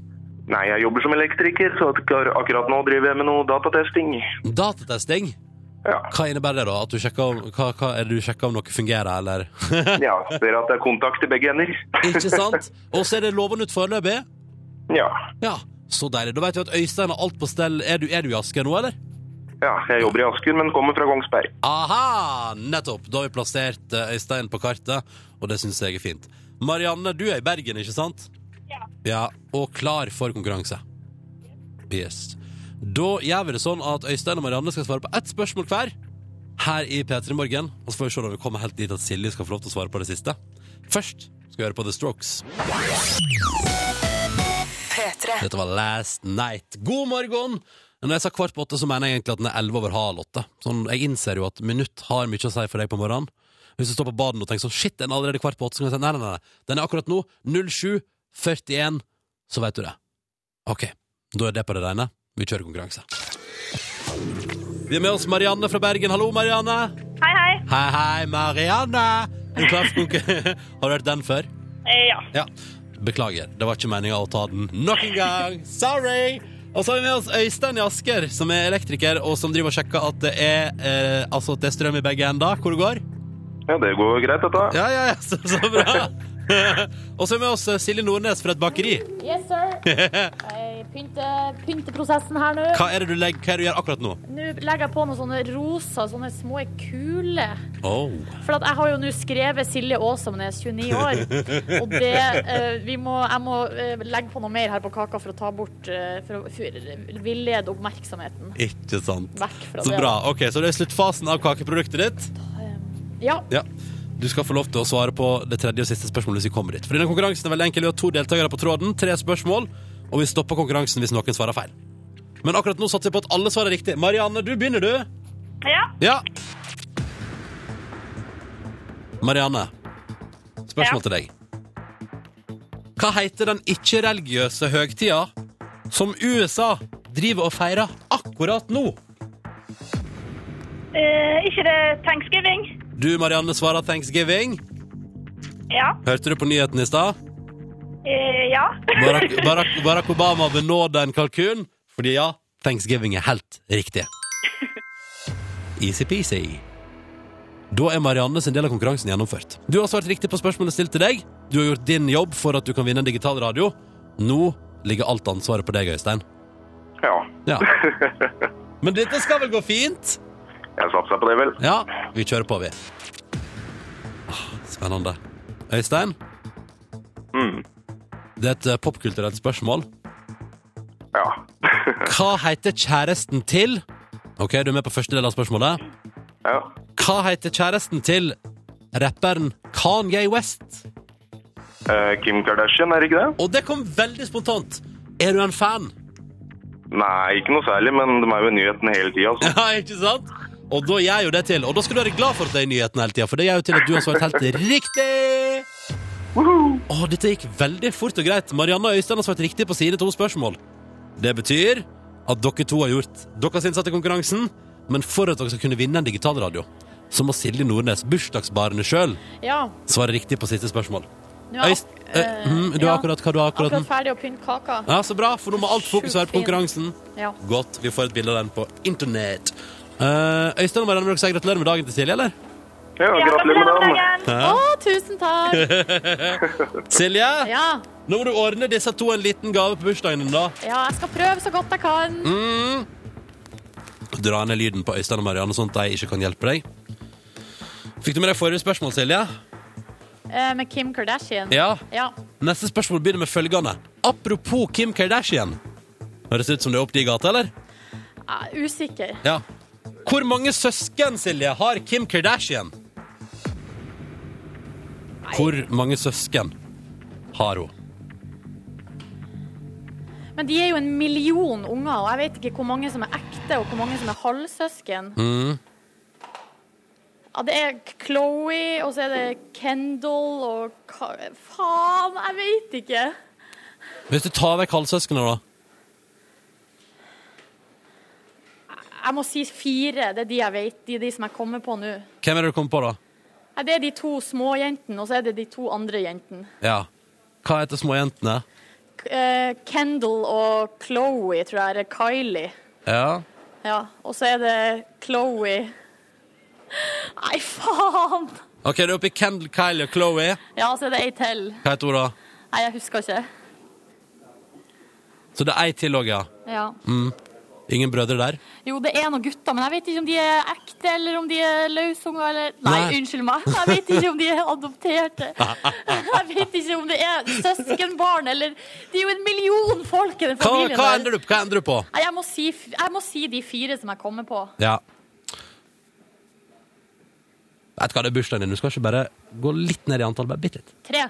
S7: Nei, jeg jobber som elektriker, så akkur- akkurat nå driver jeg med noe datatesting.
S2: Datatesting?
S7: Ja.
S2: Hva innebærer det, da? At du sjekker om, hva, hva er det du sjekker om noe fungerer, eller
S7: ja, ser at det er kontakt i begge ender.
S2: *laughs* Ikke sant? Og så er det lovende ut foreløpig?
S7: *laughs* Ja.
S2: Ja, så deilig. Da vet vi at Øystein har alt på stell. Er du, er du i Asker nå, eller?
S7: ja, jeg jobber i Asker, men kommer fra Kongsberg.
S2: Aha! Nettopp. Da har vi plassert eh, Øystein på kartet, og det syns jeg er fint. Marianne, du er i Bergen, ikke sant?
S4: Ja.
S2: ja. Og klar for konkurranse. Yes. Da gjør vi det sånn at Øystein og Marianne skal svare på ett spørsmål hver her i P3 Morgen. Og så får vi se når vi kommer helt dit at Silje skal få lov til å svare på det siste. Først skal vi høre på The Strokes. Dette var Last Night. God morgen! Når jeg sa kvart på åtte, så mener jeg egentlig at den er elleve over halv åtte. Sånn, jeg innser jo at minutt har mye å si for deg på morgenen. Hvis du står på baden og tenker sånn shit, den er allerede kvart på åtte, så kan jeg si nei, nei, nei, nei. Den er akkurat nå 07.41, så vet du det. Ok, da er det på det rene. Vi kjører konkurranse. Vi har med oss Marianne fra Bergen. Hallo, Marianne.
S4: Hei, hei.
S2: Hei, hei, Marianne. Er du klar for konkurranse? *laughs* Har du hørt den før?
S4: Eh, ja.
S2: Ja, beklager. Det var ikke meninga å ta den nok en gang. Sorry! Og så har vi med oss Øystein i Asker, som er elektriker, og som driver og sjekker at det er, eh, altså at det er strøm i begge ender. Hvor det går?
S7: Ja, det går greit, dette.
S2: Ja, ja, *laughs* ja, så, så bra! og så er vi med oss eh, Silje Nordnes fra et bakeri.
S8: Yes, sir.
S2: *laughs*
S8: Jeg pynter, pynter prosessen her nå.
S2: Hva er det du, legger, hva er det du gjør akkurat nå?
S8: Nå legger jeg på noen sånne rosa, sånne små kuler.
S2: Oh.
S8: For at jeg har jo nå skrevet Silje Åsamnes, 29 år.
S2: *laughs*
S8: Og det eh, vi må, Jeg må eh, legge på noe mer her på kaka for å ta bort eh, For å for- villede oppmerksomheten
S2: Ikke sant.
S8: vekk fra
S2: Så
S8: det.
S2: bra. Ok, Så det er sluttfasen av kakeproduktet ditt.
S8: Ja.
S2: Ja. Du skal få lov til å svare på det tredje og siste spørsmålet hvis vi kommer dit. For denne konkurransen er veldig enkel. Vi har to deltakere på tråden, tre spørsmål, og vi stopper konkurransen hvis noen svarer feil. Men akkurat nå satser jeg på at alle svarer riktig. Marianne, du begynner, du.
S4: Ja.
S2: Ja. Marianne, spørsmål til deg. Hva heter den ikke-religiøse høgtida som USA driver og feirer akkurat nå?
S4: Eh, ikke det thanksgiving?
S2: Du, Marianne, svarer thanksgiving.
S4: Ja.
S2: Hørte du på nyheten i stad?
S4: Eh, ja.
S2: Barack,
S4: *laughs*
S2: Barack, Barack Obama benåder en kalkun Fordi ja, Thanksgiving er helt riktig Easy-peasy Da er Marianne sin del av konkurransen gjennomført Du har svart riktig på spørsmålet stilt til deg Du har gjort din jobb for at du kan vinne en digital radio Nå ligger alt ansvaret på deg, Øystein
S7: Ja.
S2: Ja Men dette skal vel gå fint?
S7: *laughs* Jeg satser på det, vel.
S2: Ja, vi kjører på, vi. Ah, Spennende. Øystein,
S7: Mm.
S2: det er et eh, popkulturelt spørsmål.
S7: Ja. *laughs*
S2: Hva heter kjæresten til Ok, du er med på første del av spørsmålet.
S7: ja.
S2: Hva heter kjæresten til rapperen Kanye West?
S7: Eh, Kim Kardashian, er det ikke det?
S2: Og det kom veldig spontant. Er du en fan?
S7: Nei, ikke noe særlig, men de er jo i nyheten hele tida. Altså.
S2: *laughs* Ja, ikke sant? Og da gjør jo det til. Og da skal du være glad for at det er nyheten hele tida, for det gjør jo til at du har svart helt riktig. Å, dette gikk veldig fort og greit. Marianne og Øystein har svart riktig på sine to spørsmål. Det betyr at dere to har gjort deres innsatte i konkurransen, men for at dere skal kunne vinne en digitalradio, så må Silje Nordnes, bursdagsbarnet sjøl,
S3: Ja.
S2: svare riktig på siste spørsmål.
S3: Nå er jeg
S2: Øyst-
S3: ak-
S2: eh, mhm, du
S3: ja,
S2: har akkurat hva du har akkurat,
S3: akkurat ferdig å pynte kaka.
S2: Ja, Så bra, for nå må alt fokus være
S3: Sjukt
S2: på konkurransen.
S3: Ja.
S2: Godt. Vi får et bilde av den på internett. Eh, Øystein og Marianne, vil dere si gratulerer med dagen til Silje, eller?
S7: Ja, gratulerer med dagen.
S3: Å, tusen
S2: *laughs*
S3: takk!
S2: Silje,
S3: Ja.
S2: nå må du ordne disse to en liten gave på bursdagen din, da.
S3: ja, jeg skal prøve så godt jeg kan.
S2: Mm. Dra ned lyden på Øystein og Marianne, sånn at de ikke kan hjelpe deg. Fikk du med deg forrige spørsmål, Silje?
S3: Eh, Med Kim Kardashian.
S2: Ja.
S3: Ja.
S2: Neste spørsmål begynner med følgende. Apropos Kim Kardashian. Høres ut som det er opp de gata, eller?
S3: Jeg er usikker.
S2: Ja. Hvor mange søsken, Silje, har Kim Kardashian? Hvor mange søsken har hun?
S3: Men de er jo en million unger, og jeg vet ikke hvor mange som er ekte, og hvor mange som er halvsøsken.
S2: Mm.
S3: Ja, det er Chloe, og så er det Kendall og Ka Faen, jeg vet ikke.
S2: Hvis du tar vekk halvsøskene, da.
S3: Jeg må si fire. Det er de jeg vet. De, de som jeg kommer på nå.
S2: Hvem er det du kom på, da?
S3: Ja, det er de to små jentene, og så er det de to andre jentene.
S2: Ja. Hva heter småjentene?
S3: K- eh, Kendall og Chloe, tror jeg. Eller Kylie.
S2: Ja.
S3: Ja. Og så er det Chloe Nei, faen!
S2: OK, det er oppi Kendal, Kylie og Chloé.
S3: Ja, så er det ei til.
S2: Hva heter hun, da?
S3: Nei, jeg husker ikke.
S2: Så det er ei til òg, ja.
S3: Ja.
S2: Ingen brødre der?
S3: Jo, det er noen gutter, men jeg vet ikke om de er ekte, eller om de er løsunger, eller Nei,
S2: Nei.
S3: unnskyld meg. Jeg vet ikke om de er adopterte. Jeg vet ikke om det er søskenbarn, eller Det er jo en million folk i den
S2: Hva,
S3: familien.
S2: hva
S3: der.
S2: endrer du på? Hva endrer du på?
S3: Nei, jeg, må si, f- jeg må si de fire som jeg kommer på.
S2: Ja. Vet du hva, det er bursdagen din. Du skal ikke bare gå litt ned i antall, bare bitte litt.
S3: Tre.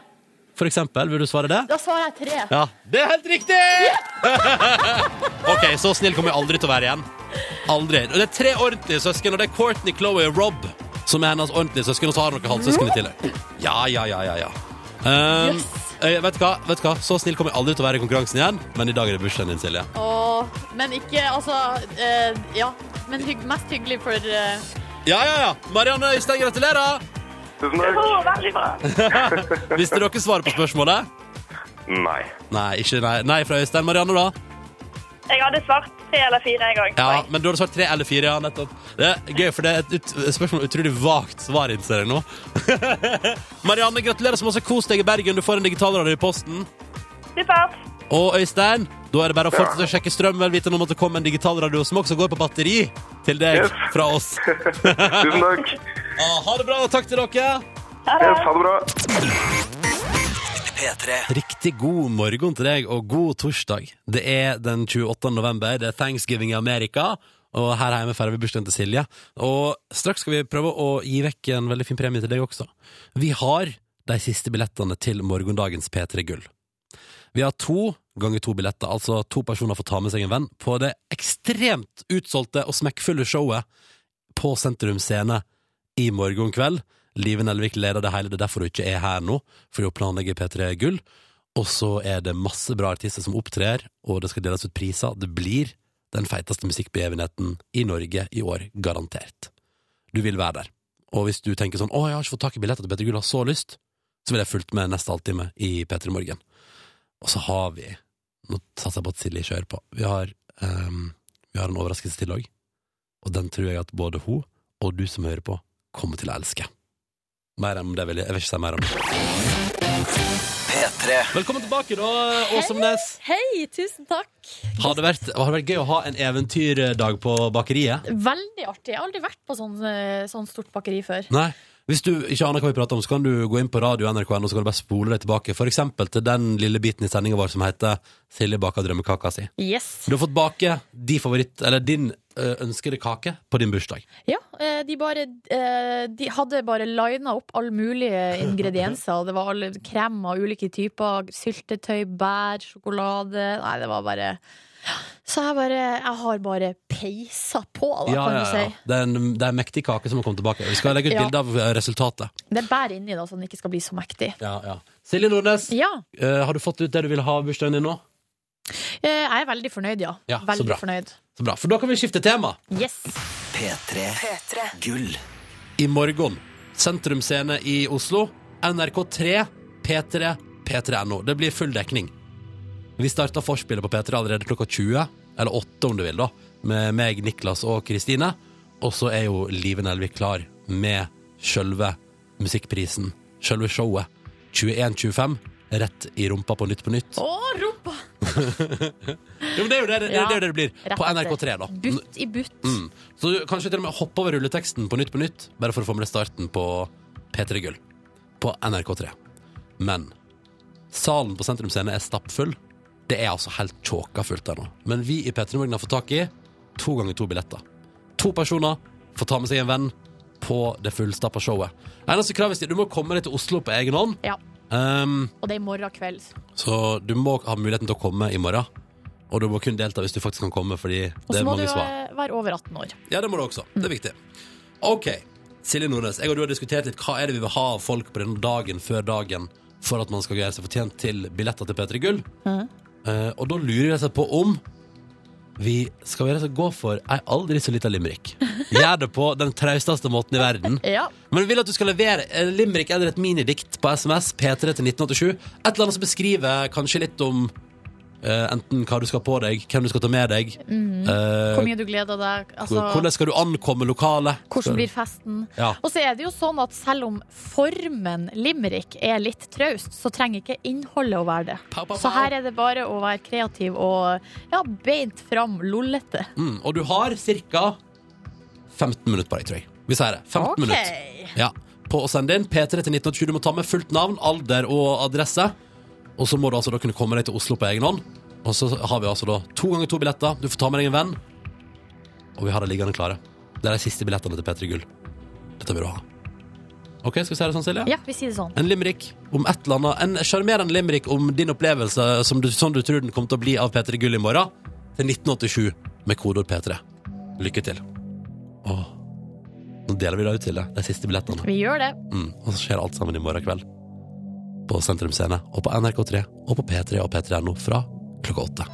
S2: For eksempel, vil du svare det?
S3: Da svarer jeg tre.
S2: Ja, det er helt riktig! ok, så snill kommer jeg aldri til å være igjen. Aldri. Og det er tre ordentlige søsken, og det er Courtney, Chloé og Rob som er hennes ordentlige søsken, og så har dere halvsøsken i tillegg. Ja, ja, ja, ja, ja. Um,
S3: Yes.
S2: eh, vet, du hva? vet du hva? Så snill kommer jeg aldri til å være i konkurransen igjen, men i dag er det bursdagen din, Silje.
S3: Og, men ikke Altså, eh, ja. Men hygg, mest hyggelig for eh,
S2: Ja, ja, ja. Marianne Øystein, gratulerer!
S7: Tusen takk.
S4: veldig bra.
S2: Visste dere svaret på spørsmålet?
S7: Nei.
S2: Nei, ikke nei. Nei fra Øystein. Marianne, da?
S4: Jeg hadde svart tre eller fire en gang.
S2: Ja, men du hadde svart tre eller fire, ja, nettopp. Det er gøy, for det er et ut spørsmål med utrolig vagt svar, innser jeg nå. *laughs* Marianne, gratulerer så masse. Kos deg i Bergen. Du får en digitalradio i posten.
S4: Supert.
S2: Og Øystein, da er det bare å fortsette å sjekke strøm, vel vitende om at det kommer en digitalradio som også går på batteri til deg
S7: Yes.
S2: fra oss.
S7: Tusen takk.
S2: Ah, ha det bra, og takk til dere.
S7: Yes, ha det bra.
S1: P3.
S2: Riktig god morgen til deg, og god torsdag. Det er den 28. november, det er Thanksgiving i Amerika, og her hjemme feirer vi bursdagen til Silje. Og straks skal vi prøve å gi vekk en veldig fin premie til deg også. Vi har de siste billettene til morgendagens P3 Gull. Vi har to ganger to billetter, altså to personer får ta med seg en venn, på det ekstremt utsolgte og smekkfulle showet på Sentrum Scene i morgen kveld. Live Nelvik leder det hele, det er derfor hun ikke er her nå, for hun planlegger P3 Gull. Og så er det masse bra artister som opptrer, og det skal deles ut priser. Det blir den feiteste musikkbegivenheten i Norge i år, garantert. Du vil være der. Og hvis du tenker sånn 'Å, jeg har ikke fått tak i billetter til P3 Gull, jeg har så lyst', så vil jeg fulgt med neste halvtime i P3 Morgen. Og så har vi Nå satser jeg på at Silje kjører på. Vi har, ehm, vi har en overraskelse til òg, og den tror jeg at både hun og du som hører på, kommer til å elske. Mer om det vil jeg, jeg vil ikke si mer om det.
S1: P3.
S2: Velkommen tilbake, da, Åsemnes.
S3: Hei, tusen takk.
S2: Har det, vært, har det vært gøy å ha en eventyrdag på bakeriet?
S3: Veldig artig. Jeg har aldri vært på sånn, eh, sånn stort bakeri før.
S2: Nei. Hvis du ikke aner hva vi prater om, så kan du gå inn på radio NRK.no og så kan du bare spole deg tilbake. For eksempel til den lille biten i sendinga vår som heter 'Silje baker drømmekaka si'.
S3: Yes.
S2: Du har fått bake din favoritt, eller din ø, ønskede kake på din bursdag.
S3: Ja, eh, de, bare, eh, de hadde bare lina opp alle mulige ingredienser. Det var alle krem av ulike typer. Syltetøy, bær, sjokolade. Nei, det var bare Så jeg bare Jeg har bare peisa på, da, kan du si.
S2: Det er en, det er en mektig kake som har kommet tilbake. Vi skal legge ut
S3: Ja.
S2: bilde av ø, resultatet.
S3: Det er bær inni, da, så den ikke skal bli så mektig.
S2: Silje Nordnes,
S3: Ja.
S2: ø, Eh, har du fått ut det du vil ha av bursdagen din nå?
S3: eh, Jeg er veldig fornøyd, ja.
S2: Ja, så
S3: veldig
S2: bra.
S3: fornøyd.
S2: Så bra, for da kan vi skifte tema.
S3: Yes.
S1: P3. Gull.
S2: i morgen. Sentrum Scene i Oslo. NRK3, P3, P3.no. Det blir full dekning. Vi starter forspillet på P3 allerede klokka 20, eller 8 om du vil, da, med meg, Niklas og Kristine. Og så er jo Live Nelvik klar med sjølve musikkprisen, sjølve showet. 21.25, rett i rumpa på Nytt på Nytt.
S3: Å, rumpa!
S2: Jo, men det er jo det det, det, er jo det, det blir.
S3: Rett
S2: På
S3: etter.
S2: NRK3, da.
S3: Butt i butt.
S2: Mm. Så du kanskje til og med hoppe over rulleteksten på Nytt på Nytt, bare for å få med deg starten på P3 Gull på NRK3. Men salen på Sentrum Scene er stappfull. Det er altså helt tjåka fullt der nå. Men vi i P3 Morgen har fått tak i to ganger to billetter. To personer får ta med seg en venn på det fullstappa showet. Eneste krav er at du må komme deg til Oslo på egen hånd.
S3: Ja.
S2: Um,
S3: Og det er i morgen kveld.
S2: så du må ha muligheten til å komme i morgen. Og du må kun delta hvis du faktisk kan komme, fordi det
S3: Og så
S2: er
S3: må du
S2: mange svar.
S3: eh, være over 18 år.
S2: Ja, det må du også. Det er viktig. Ok, Silje Nordnes, jeg og du har diskutert litt hva er det vi vil ha av folk på denne dagen før dagen for at man skal gjøre seg fortjent til billetter til P3 Gull. Eh, og da lurer jeg seg på om vi skal gjøre oss gå for ei aldri så lita limerick. Gjør det på den trausteste måten i verden.
S3: Ja.
S2: Men vi vil at du skal levere en limerick eller et minidikt på SMS P3 til 1987. Et eller annet som beskriver kanskje litt om eh, enten hva du skal ha på deg, hvem du skal ta med deg, eh,
S3: Hvor mye du gleder deg. Altså,
S2: hvordan skal du ankomme lokalet?
S3: hvordan blir festen?
S2: Ja.
S3: Og så er det jo sånn at selv om formen limerick er litt traust, så trenger ikke innholdet å være det.
S2: Pow, pow,
S3: Så her er det bare å være kreativ og ja, beint fram, lollete.
S2: Mm, og du har ca. 15 minutter på deg, tror jeg. Vi sier det. 15
S3: Ok.
S2: minutter. Ja. På å sende inn P3 til 1987. Du må ta med fullt navn, alder og adresse. Og så må du altså da kunne komme deg til Oslo på egen hånd. Og så har vi altså da to ganger to billetter. Du får ta med deg en venn. Og vi har det liggende klare. Det er de siste billettene til P3 Gull. Dette vil du ha. OK, skal vi si det sånn, Silje?
S3: Ja, vi sier det sånn.
S2: En limerick om et eller annet. En sjarmerende limerick om din opplevelse som du, sånn du tror den kommer til å bli av P3 Gull i morgen. Til 1987 med kodeord P3. Lykke til. Åh. Nå deler vi det ut til deg, de siste billettene.
S3: Vi gjør det.
S2: Mm. Og så skjer alt sammen i morgen kveld. På Sentrum Scene og på NRK3 og på P3 og P3.no fra klokka åtte.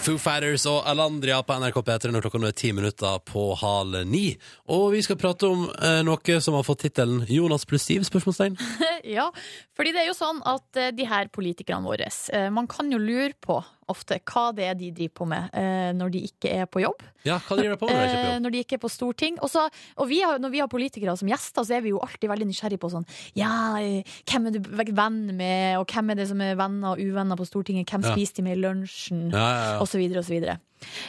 S2: Foo Fighters og Alandria på NRK P3 når klokka nå er ti minutter på halv ni. Og vi skal prate om eh, noe som har fått tittelen Jonas pluss Siv? spørsmålstegn.
S3: Ja, fordi det er jo sånn at eh, de her politikerne våre, eh, man kan jo lure på ofte hva det er de driver på med eh, når de ikke er på jobb.
S2: Ja, hva driver de på med? når de er ikke
S3: Eh,
S2: på jobb?
S3: når de ikke er på storting. Og, så, og vi har, når vi har politikere som gjester, så er vi jo alltid veldig nysgjerrige på sånn Ja, eh, hvem er du venn med, og hvem er det som er venner og uvenner på Stortinget, hvem
S2: Ja.
S3: spiste de med i lunsjen,
S2: Ja, ja, ja.
S3: og så videre og så videre.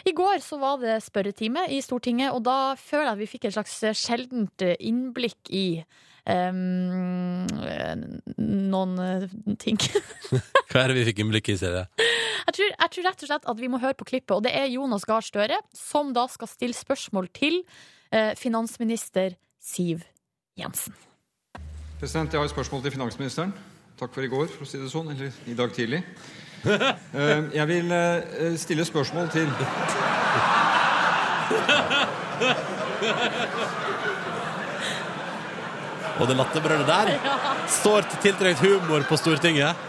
S3: I går så var det spørretime i Stortinget, og da føler jeg at vi fikk et slags eh, sjeldent innblikk i eh, noen eh, ting.
S2: Hva er det vi fikk innblikk i, Silje?
S3: Jeg tror, jeg tror rett og slett at vi må høre på klippet, og det er Jonas Gahr Støre som da skal stille spørsmål til eh, finansminister Siv Jensen. *laughs*
S9: President, Jeg har et spørsmål til finansministeren. Takk for i går, for å si det sånn. Eller i dag tidlig. Eh, Jeg vil eh, stille spørsmål til
S2: Og det latterbrølet der står til tiltrekt humor på Stortinget.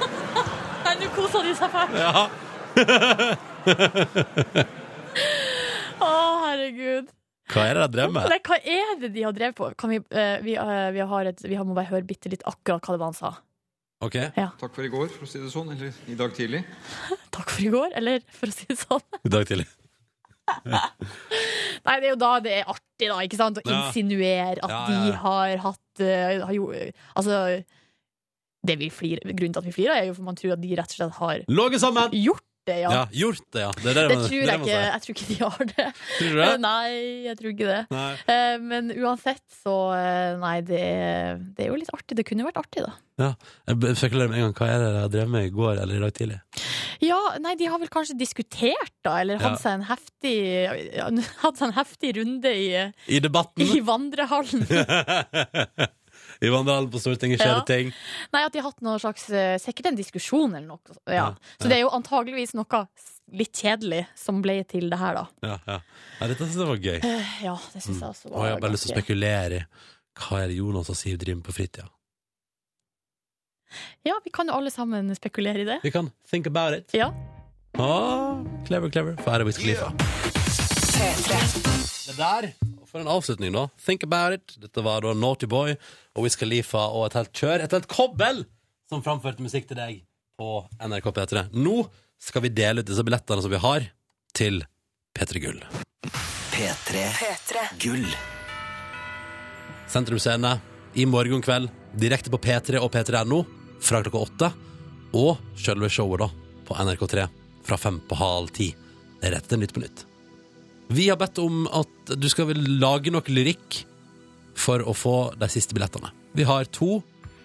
S3: Nei, nå koser de seg fælt!
S2: Ja.
S3: *laughs* Å, herregud.
S2: Hva er det de drev med?
S3: Nei, hva er det de har drevet på? Kan vi, eh, vi, eh, vi, har et, vi må bare høre bitte litt akkurat hva det var han sa.
S2: Ok,
S9: Takk for i går, for å si det sånn. Eller i dag tidlig.
S3: Takk for i går, eller for å si det sånn.
S2: i dag tidlig.
S3: Nei, det er jo da det er artig, da, ikke sant? Å
S2: Ja.
S3: insinuere
S2: Ja,
S3: at
S2: ja, ja.
S3: de har hatt eh, har jo, Altså, det vi flir, grunnen til at vi flirer, er jo for man tror at de rett og slett har
S2: Låget sammen!
S3: gjort det, ja.
S2: Ja, gjort det, ja. Det, er
S3: Det
S2: man-
S3: tror
S2: er
S3: jeg
S2: man
S3: ikke.
S2: sier.
S3: Jeg tror ikke de har det.
S2: Tror du det?
S3: *laughs* Nei, jeg tror ikke det.
S2: Nei.
S3: Eh, Men uansett, så eh, Nei, det, er- det er jo litt artig. Det kunne jo vært artig, da.
S2: Jeg b- spekulerer med en gang hva er det jeg drev med i går eller i dag tidlig.
S3: Ja, nei, de har vel kanskje diskutert, da, eller hatt
S2: Ja.
S3: seg en heftig ja, *laughs* Hatt seg en heftig runde i,
S2: I debatten
S3: i vandrehallen.
S2: *laughs* I vandrehallen på Stortinget skjer
S3: Ja.
S2: det ting.
S3: Nei, at de har hatt noe slags eh, Sikkert en diskusjon eller noe. Ja.
S2: Ja, ja.
S3: Så det er jo antageligvis noe s- litt kjedelig som ble til det her, da.
S2: Ja, ja. ja dette syns jeg var gøy.
S3: Eh, Ja, det syns jeg også
S2: Og
S3: var
S2: jeg har bare lyst til Mm. å
S3: ganske-
S2: spekulere i hva er det Jonas og Siv driver med på fritida.
S3: Ja, vi kan jo alle sammen spekulere i det.
S2: Vi kan think about it.
S3: Ja.
S2: Ah, clever, clever. For her er Wiz Khalifa. Det der, for en avslutning, da. Think about it. Dette var da Naughty Boy og Wiz Khalifa og et helt kjør, et helt kobbel, som framførte musikk til deg på NRK P3. Nå skal vi dele ut disse billettene som vi har, til P3 Gull.
S1: P3. Gull.
S2: Sentrum Scene i morgen kveld, direkte på P3 og P3.no fra klokka åtte. Og selve showet, da, på NRK3 fra fem på halv ti. Det er rett til Nytt på Nytt. Vi har bedt om at du skal vel lage nok lyrikk for å få de siste billettene. Vi har to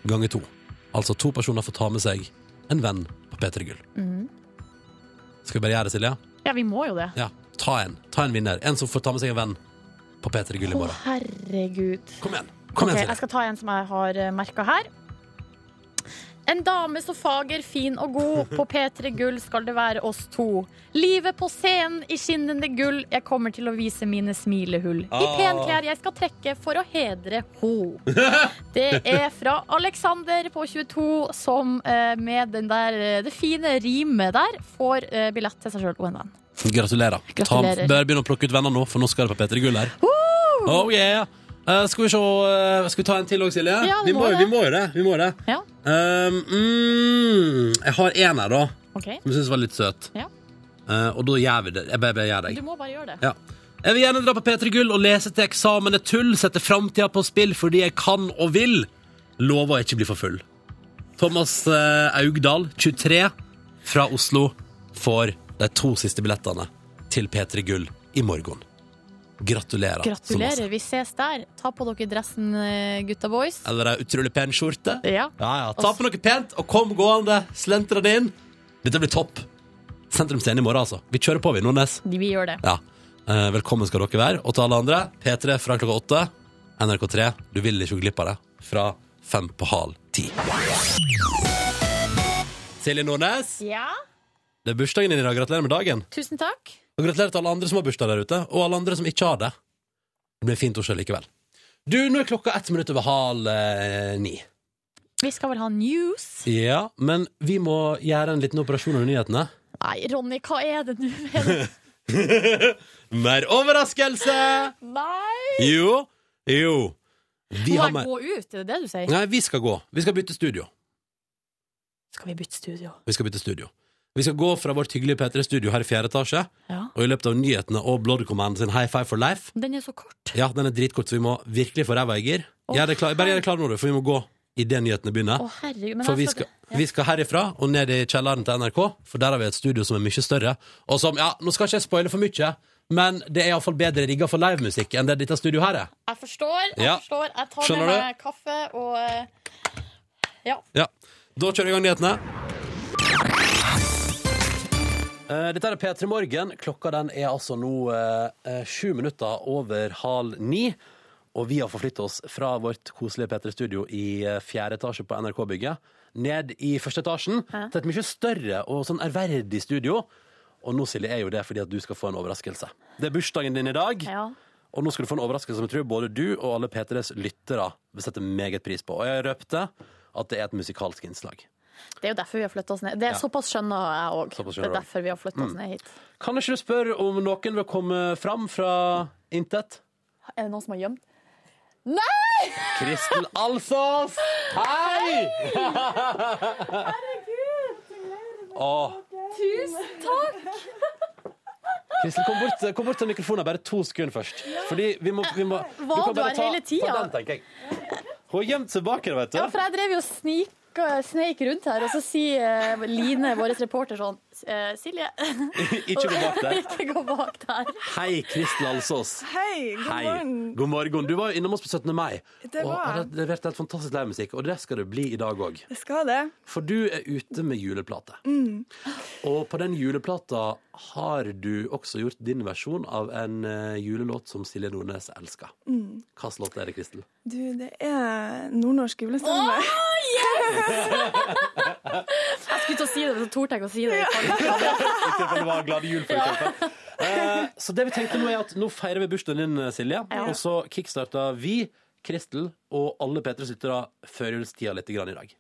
S2: ganger to. Altså to personer får ta med seg en venn på P3 Gull.
S3: Mhm.
S2: Skal vi bare gjøre det, Silje?
S3: Ja, vi må jo det.
S2: Ja. Ta en. Ta en vinner. En som får ta med seg en venn på P3 Gull i
S3: Å,
S2: morgen.
S3: herregud.
S2: Kom igjen. Kom
S3: Ok,
S2: igjen,
S3: Eh, jeg
S2: Silje.
S3: skal ta en som jeg har merka her. En dame så fager, fin og god. På P3 Gull skal det være oss to. Livet på scenen i skinnende gull. Jeg kommer til å vise mine smilehull. I
S2: Ah.
S3: penklær jeg skal trekke for å hedre ho. Det er fra Alexander på 22 som eh, med den der, eh, det fine rimet der får eh, billett til seg sjøl og en venn.
S2: Gratulerer. Ta,
S3: Gratulerer.
S2: bør begynne å plukke ut venner nå, for nå skal det på P3 Gull her. Oh, yeah. Eh, skal vi se eh, Skal vi ta en til òg, Silje?
S3: Ja,
S2: vi,
S3: vi
S2: må,
S3: må
S2: jo- vi
S3: det.
S2: må jo det. Vi må jo det.
S3: Ja,
S2: Um, mm, jeg har en her, da,
S3: OK.
S2: som jeg syns var litt søt.
S3: Ja.
S2: Eh, og da gjør vi det. Jeg bare, bare gjør
S3: Du
S2: det.
S3: må bare gjøre det.
S2: Ja. Jeg vil gjerne dra på P3 Gull og lese til eksamen er tull, sette framtida på spill fordi jeg kan og vil. Lover å ikke bli for full. Thomas eh, Augdal, 23, fra Oslo, får de to siste billettene til P3 Gull i morgen. Gratulerer. så masse.
S3: Gratulerer. Vi ses der. Ta på dere dressen, eh, gutta boys.
S2: Eller ei utrolig pen skjorte.
S3: Ja.
S2: Ja, ja. Ta på noe pent og kom gående. Slentre det inn. Dette blir topp. Sentrum Scene i morgen, altså. Vi kjører på, vi, Nordnes.
S3: Vi gjør det.
S2: Ja. Eh, velkommen skal dere være. Og til alle andre, P3 fra klokka åtte. NRK3, du vil ikke gå glipp av det. Fra fem på halv ti. Silje Nordnes,
S3: Ja.
S2: det er bursdagen din i dag. Gratulerer med dagen.
S3: Tusen takk.
S2: Og gratulerer til alle andre som har bursdag der ute, og alle andre som ikke har det. Det blir fint å se likevel. Du, nå er klokka ett minutt over halv eh, ni.
S3: Vi skal vel ha news?
S2: Ja, men vi må gjøre en liten operasjon under nyhetene.
S3: Nei, Ronny, hva er det nå?
S2: *laughs*
S3: med det?
S2: Mer overraskelse!
S3: Nei!
S2: Jo, jo. Vi
S3: Må
S2: har
S3: jeg
S2: mer
S3: gå ut? Er det det du sier?
S2: Nei, vi skal gå. Vi skal bytte studio.
S3: Skal vi bytte studio?
S2: Vi skal bytte studio. Vi skal gå fra vårt hyggelige P3-studio her i fjerde etasje,
S3: Ja.
S2: og i løpet av nyhetene og Blood Command sin High Five for Life
S3: Den er så kort.
S2: Ja, den er dritkort, så vi må virkelig få ræva i gir.
S3: Å,
S2: Gjør det klar- Bare gjør det klart nå, du, for vi må gå idet nyhetene
S3: Å,
S2: begynner.
S3: herregud. Men
S2: For vi
S3: jeg
S2: skal, vi skal herifra og ned i kjelleren til NRK, for der har vi et studio som er mye større. Og som, ja, nå skal ikke jeg spoile for mye, men det er iallfall bedre rigga for livemusikk enn det dette studioet her er.
S3: Jeg forstår. Jeg
S2: Ja.
S3: forstår. Jeg tar
S2: Skjønner
S3: med
S2: du?
S3: meg kaffe og eh,
S2: Ja, Da kjører vi i gang nyhetene. Eh, Dette er P3 Morgen. Klokka den er altså nå eh, eh, sju minutter over halv ni. Og vi har forflyttet oss fra vårt koselige P3-studio i eh, fjerde etasje på NRK-bygget ned i første etasjen til et mye større og sånn ærverdig studio. Og nå, Silje, er jo det fordi at du skal få en overraskelse. Det er bursdagen din i dag.
S3: Ja.
S2: Og nå skal du få en overraskelse som jeg tror både du og alle P3s lyttere vil sette meget pris på. Og jeg røpte at det er et musikalsk innslag.
S3: Det er jo derfor vi har flytta oss ned. Det er såpass skjønna jeg òg.
S2: Såpass skjønner
S3: Det er
S2: du. Mm.
S3: derfor vi har flytta oss ned hit.
S2: Kan ikke du spørre om noen vil komme fram fra intet?
S3: Er det noen som har gjemt?
S2: Kristel Alsås! Hei! Herregud! Tusen takk! Kristin, kom bort, kom bort til mikrofonen bare to sekunder først. Fordi vi må, vi må du
S10: Var
S2: kan
S10: du
S2: bare
S10: her
S2: ta-
S10: hele tida?
S2: Ta den, tenker jeg. Hun har gjemt seg bak her, vet du.
S3: Ja, for jeg drev jo og snik sneik rundt her, og så sier eh, Line, vår reporter, sånn eh, Silje,
S2: *laughs* Ikke gå bak der.
S3: *laughs* ikke gå bak *laughs* der.
S2: Hei, Kristel Alsås.
S11: Hei, god
S2: Hei.
S11: morgen.
S2: God morgen. Du var jo innom oss på 17. mai.
S11: Det
S2: Og
S11: var
S2: har
S11: jeg.
S2: levert helt fantastisk livemusikk, og det skal det bli i dag òg.
S11: Jeg skal det.
S2: For du er ute med juleplate.
S11: Mm.
S2: Og på den juleplata har du også gjort din versjon av en eh, julelåt som Silje Nordnes elsker.
S11: Mm.
S2: Hvilken låt er det, Kristel?
S11: Du, det er nordnorsk julestemme.
S3: *laughs* Jeg skulle til å si det, men så torde jeg ikke å si det.
S2: I tilfelle det var Glade
S11: *laughs*
S2: jul, for eksempel. Eh, Så det vi tenkte nå er at nå feirer vi bursdagen din, eh, Silje. Og så kickstarta vi, Kristel og alle P3s lyttere førjulstida litt grann i dag.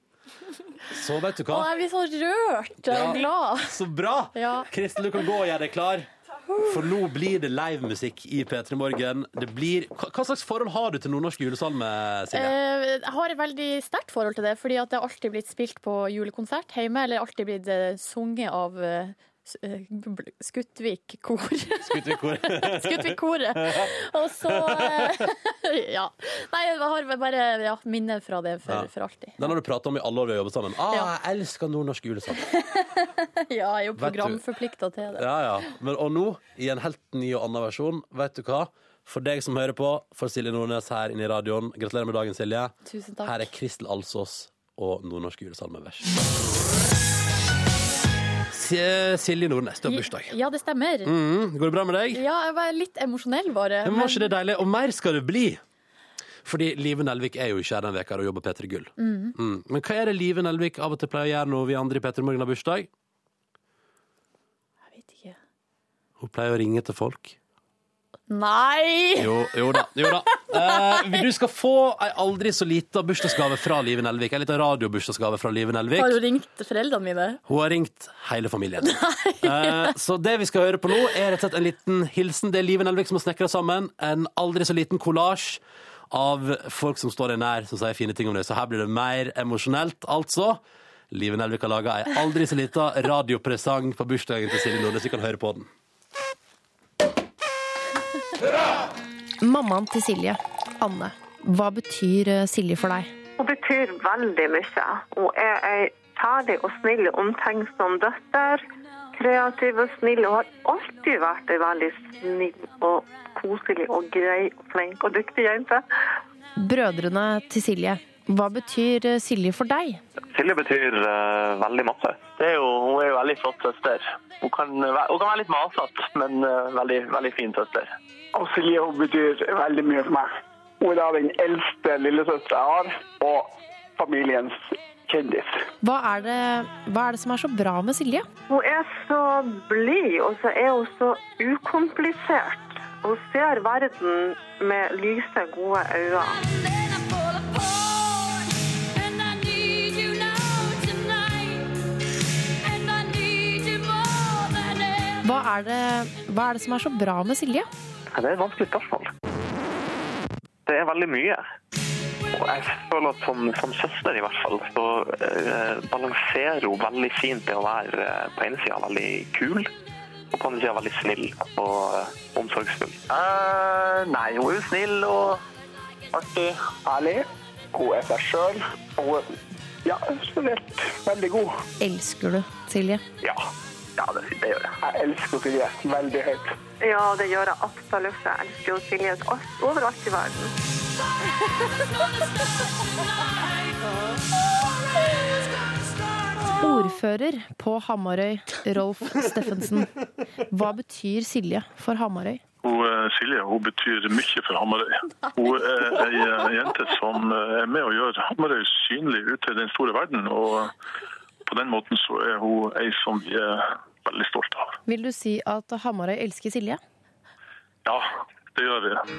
S2: Så vet du
S3: Å,
S2: hva.
S3: jeg blir så rørt
S2: Ja.
S3: og glad.
S2: Så bra!
S3: Ja.
S2: Kristel, du kan gå og gjøre deg klar. For nå blir det livemusikk i P3 Morgen. Det blir... Hva hva slags forhold har du til nordnorsk julesalme, Silje?
S3: Eh, Jeg har et veldig sterkt forhold til det, fordi at det har alltid blitt spilt på julekonsert hjemme, eller alltid blitt eh, sunget av eh, s- eh, Skutvik kor.
S2: Skutt i kor. *laughs*
S3: Skutvik-koret. Og så eh, *laughs* Ja. Nei, jeg har bare ja, minner fra det
S2: Ja.
S3: for, for alltid. *laughs*
S2: Den har du prata om i alle år vi har jobbet sammen. Ah,
S3: Ja.
S2: jeg elsker nordnorsk julesalme.
S3: Ja, jeg er jo
S2: Vet du-
S3: programforplikta til det.
S2: *laughs* Ja, ja. Men, og nå, i en helt ny og annen versjon, vet du hva? For deg som hører på, for Silje Nordnes her inne i radioen, gratulerer med dagen, Silje.
S3: Tusen takk.
S2: Her er Kristel Alsås og nordnorsk julesalmevers. Silje Nordnes, du har bursdag.
S3: Ja, det stemmer.
S2: Mm, går det bra med deg?
S3: Ja, jeg var litt emosjonell, bare.
S2: Men var ikke det deilig? Og mer skal det bli! Fordi Live Nelvik er jo ikke her den veka og jobber P3 Gull. Mm. Men hva er det Live Nelvik av og til pleier å gjøre når vi andre i P3 Morgen har bursdag?
S3: Jeg vet ikke.
S2: Hun pleier å ringe til folk.
S3: Nei!
S2: Jo, jo da. Jo da. Eh, du skal få ei aldri så lita bursdagsgave fra Live Nelvik. Ei lita radiobursdagsgave fra Live
S3: Har du
S2: Nelvik.
S3: ringt foreldrene mine?
S2: Hun har ringt hele
S3: *laughs*
S2: familien. Eh, så det vi skal høre på nå, er rett og slett en liten hilsen. Det er Live Nelvik som har snekra sammen en aldri så liten kollasj av folk som står deg nær, som sier fine ting om deg. Så her blir det mer emosjonelt, altså. Live Nelvik har laga ei aldri så lita radiopresang på bursdagen til Silje Nordnes. Vi kan høre på den.
S12: Mammaen til Silje, Anne. Hva betyr eh, Silje for deg?
S4: Hun betyr veldig mye. Hun er ei kjærlig og snill og omtenksom døtter. Kreativ og snill. Hun har alltid vært ei veldig snill og koselig og grei og flink og dyktig jente.
S12: Brødrene til Silje. Hva betyr eh, Silje for deg?
S5: Silje betyr eh, veldig masse. Det er jo, hun er jo veldig flott søster. Hun kan, væ- hun kan være litt masete, men eh, veldig, veldig fin søster.
S1: Og Silje hun betyr veldig mye for meg. Hun er da den eldste lillesøstera jeg har, og familiens kjendis.
S12: Hva er, det, hva er det som er så bra med Silje?
S4: Hun er så blid, og så er hun så ukomplisert. Hun ser verden med lyse, gode øyne.
S12: Hva er det, hva er det som er så bra med Silje?
S5: Ja, Det er et vanskelig spørsmål. Det er veldig mye. Og jeg føler at som, som søster i hvert fall, så eh, balanserer hun veldig fint det å være eh, på ene sida veldig kul, og på andre sida veldig snill og eh, omsorgsfull. Eh, nei, hun er jo snill og artig. Ærlig. Hun er seg sjøl. Og ja, generelt veldig god.
S12: Elsker du Silje?
S5: Ja. ja, det, det gjør jeg. Jeg elsker Silje veldig høyt.
S4: Ja, det gjør jeg absolutt. Jeg elsker jo Silje alt- overalt i verden.
S12: Ordfører på Hamarøy, Rolf Steffensen. Hva betyr Silje for Hamarøy?
S5: Hun, eh, Silje hun betyr mye for Hamarøy. Hun er ei eh, jente som eh, er med å gjøre Hamarøy synlig ute i den store verden. Og på den måten så er hun ei som vi er veldig stolte av.
S12: Vil du si at Hamarøy elsker Silje?
S5: Ja, det gjør vi.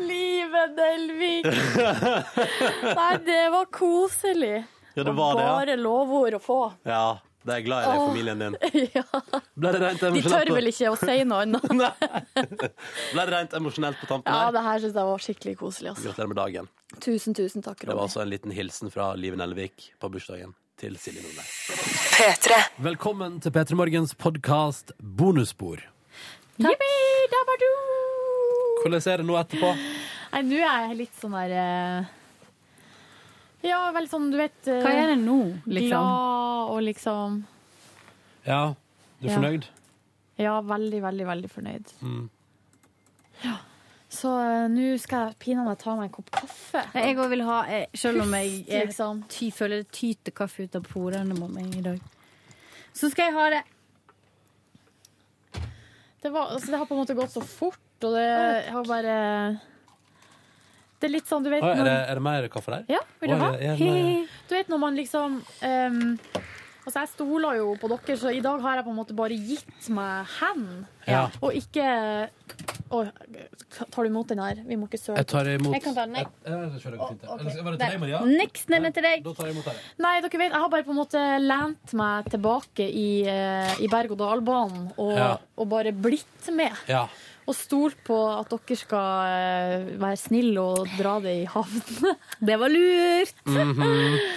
S3: Livet Delvik!
S2: *laughs*
S3: Nei, det var koselig.
S2: Ja, det var det, ja.
S3: Bare lovord å få. *laughs*
S2: Ja, det er jeg glad i deg, familien din.
S3: ja.
S2: Ble det rent
S3: De
S2: emosjonelt?
S3: tør vel ikke å si noe annet.
S2: *laughs* Nei. Ble det rent emosjonelt på tampen
S3: Ja,
S2: her?
S3: det her syns jeg var skikkelig koselig. Altså.
S2: Gratulerer med dagen.
S3: Tusen, tusen takk,
S2: Det var
S3: Ronny.
S2: altså en liten hilsen fra Liv Nelvik på bursdagen til Silje Nordnes. Velkommen til P3 Morgens podkast Bonusspor.
S3: Jippi, der var du!
S2: Hvordan er det nå etterpå?
S3: Nei, nå er jeg litt sånn der eh, Ja, vel sånn, du vet eh,
S11: Hva er det nå, liksom?
S3: Glad og liksom
S2: Ja, du er
S3: Ja.
S2: fornøyd?
S3: Ja, veldig, veldig, veldig fornøyd.
S2: Mm.
S3: Så eh, nå skal jeg pinadø ta meg en kopp kaffe.
S11: Nei, Jeg òg vil ha eh, Selv om jeg,
S3: Puff,
S11: jeg
S3: liksom.
S11: ty, føler det tyter kaffe ut av porene på meg i dag. Så skal jeg ha det.
S3: Det, var, altså, det har på en måte gått så fort, og det jeg har bare Det er litt sånn, du vet
S2: Oi, er, det,
S3: når-
S2: er det mer kaffe der?
S3: Ja, vil du
S2: Oi,
S3: ha?
S2: er det mer-
S3: Du vet når man liksom ehm, Altså, jeg stoler jo på dere, så i dag har jeg på en måte bare gitt meg hen.
S2: Ja.
S3: Og ikke Å, tar du imot den her? Vi må ikke søle.
S2: Jeg tar imot
S3: Jeg kan ta den, jeg.
S2: Ja, det tror jeg går fint, ja.
S3: Å, ok.
S2: Eller var det til deg, Maria?
S3: Niks, den er til deg.
S2: Da tar jeg imot deg.
S3: Nei, dere vet, jeg har bare på en måte lent meg tilbake i, eh, i berg-og-dal-banen og,
S2: Ja.
S3: og bare blitt med.
S2: Ja.
S3: Og stolt på at dere skal eh, være snille og dra det i havn.
S11: Det var lurt!
S2: Mhm.
S3: *laughs*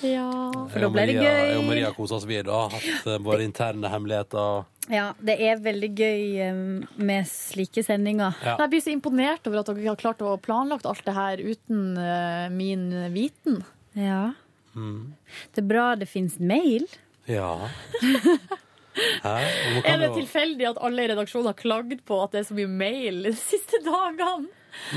S3: Ja.
S11: For da ble det
S2: Jeg og Maria- Jeg og
S11: gøy.
S2: Maria koser oss vi da. Har hatt eh, våre interne hemmeligheter.
S11: Ja, det er veldig gøy eh, med slike sendinger.
S2: Ja.
S3: Jeg blir så imponert over at dere har klart å planlagt alt det her uten eh, min viten.
S11: Ja. Det er bra det fins mail.
S3: *laughs*
S2: Ja. Hæ? Og nå kan
S3: Er det
S2: jo-
S3: tilfeldig at alle i redaksjonen har klagd på at det er så mye mail de siste dagene?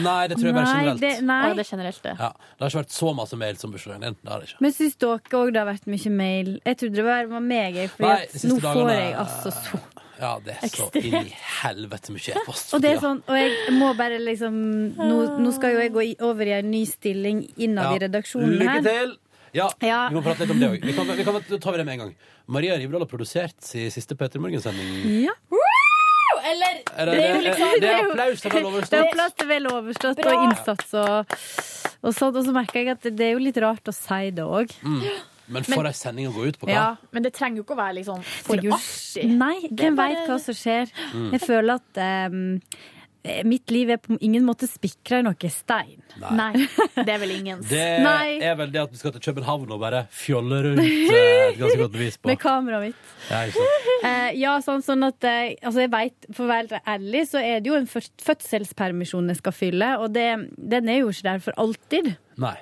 S2: Nei, det tror jeg bare generelt.
S11: nei.
S3: Å, det er generelt, det.
S2: Ja, det har ikke vært så masse mail som bursdagen din. Det har det ikke.
S11: Men syns dere òg det har vært mye mail? Jeg trodde det var, var meg, jeg.
S2: Nei,
S11: For
S2: siste
S11: nå
S2: dagene-
S11: får jeg altså så
S2: Ja, det er så
S11: Ekstremt.
S2: inn i helvete mye e-post.
S11: Og det er
S2: for tida.
S11: sånn, og jeg må bare liksom Nå, nå skal jo jeg gå i- over i en ny stilling innad i
S2: Ja.
S11: redaksjonen her.
S2: Lykke til! Ja,
S11: Ja.
S2: vi må prate litt om det òg. Vi, kan- vi kan ta over det med en gang. Maria Rivdal har produsert sin siste Peter Morgen-sending.
S11: Ja.
S3: Eller
S2: Er det- er- er-
S11: sånn,
S2: Eh, det er applaus til vel overstått.
S11: Det er applaus til vel overstått
S3: Bra.
S11: og innsats og, og sånn. Og så merker jeg at det, det er jo litt rart å si det òg.
S2: Mm. Men for ei sending å gå ut på, hva?
S3: Ja, men det trenger jo ikke å være liksom for artig.
S11: Nei,
S3: Det er
S11: hvem
S3: bare-
S11: veit hva som skjer.
S2: Mm.
S11: Jeg føler at ehm, eh, mitt liv er på ingen måte spikra i noen stein.
S3: Nei. Det er vel ingens.
S2: Det
S11: Nei.
S2: er vel det at vi skal til København og bare fjolle rundt. eh, Et ganske godt bevis på.
S11: Med kameraet mitt.
S2: Ja, ikke sant?
S11: Eh, ja, sånn, sånn at eh, altså jeg vet, For å være ærlig, så er det jo en først- fødselspermisjon jeg skal fylle, og det, den er jo ikke der for alltid.
S2: Nei.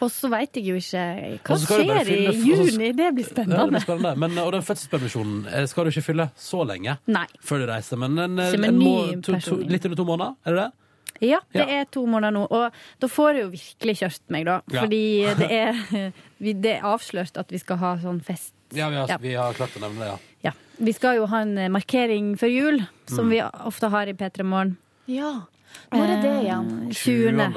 S11: Og så veit jeg jo ikke
S2: Og
S11: hva
S2: så skal du bare
S11: skjer i
S2: fylle-
S11: juni. Det blir
S2: Ja, det
S11: spennende.
S2: blir spennende. Men, og den fødselspermisjonen eh, skal du ikke fylle så lenge
S11: Nei.
S2: før du reiser. Men en, eh,
S11: Som en
S2: en må,
S11: ny
S2: to, to,
S11: person.
S2: litt under to måneder, er det det?
S11: Ja, det
S2: Ja.
S11: er to måneder nå, og da får jeg jo virkelig kjørt meg, da.
S2: Ja.
S11: Fordi det er, *laughs* vi- det er avslørt at vi skal ha sånn fest.
S2: Ja, vi har,
S11: Ja.
S2: Vi har klart å nevne det, ja.
S11: Ja. Vi skal jo ha en eh, markering før jul, som
S2: Mm.
S11: vi ofte har i P3 Morgen.
S3: Ja.
S11: Eh,
S3: Når er det igjen?
S11: 20.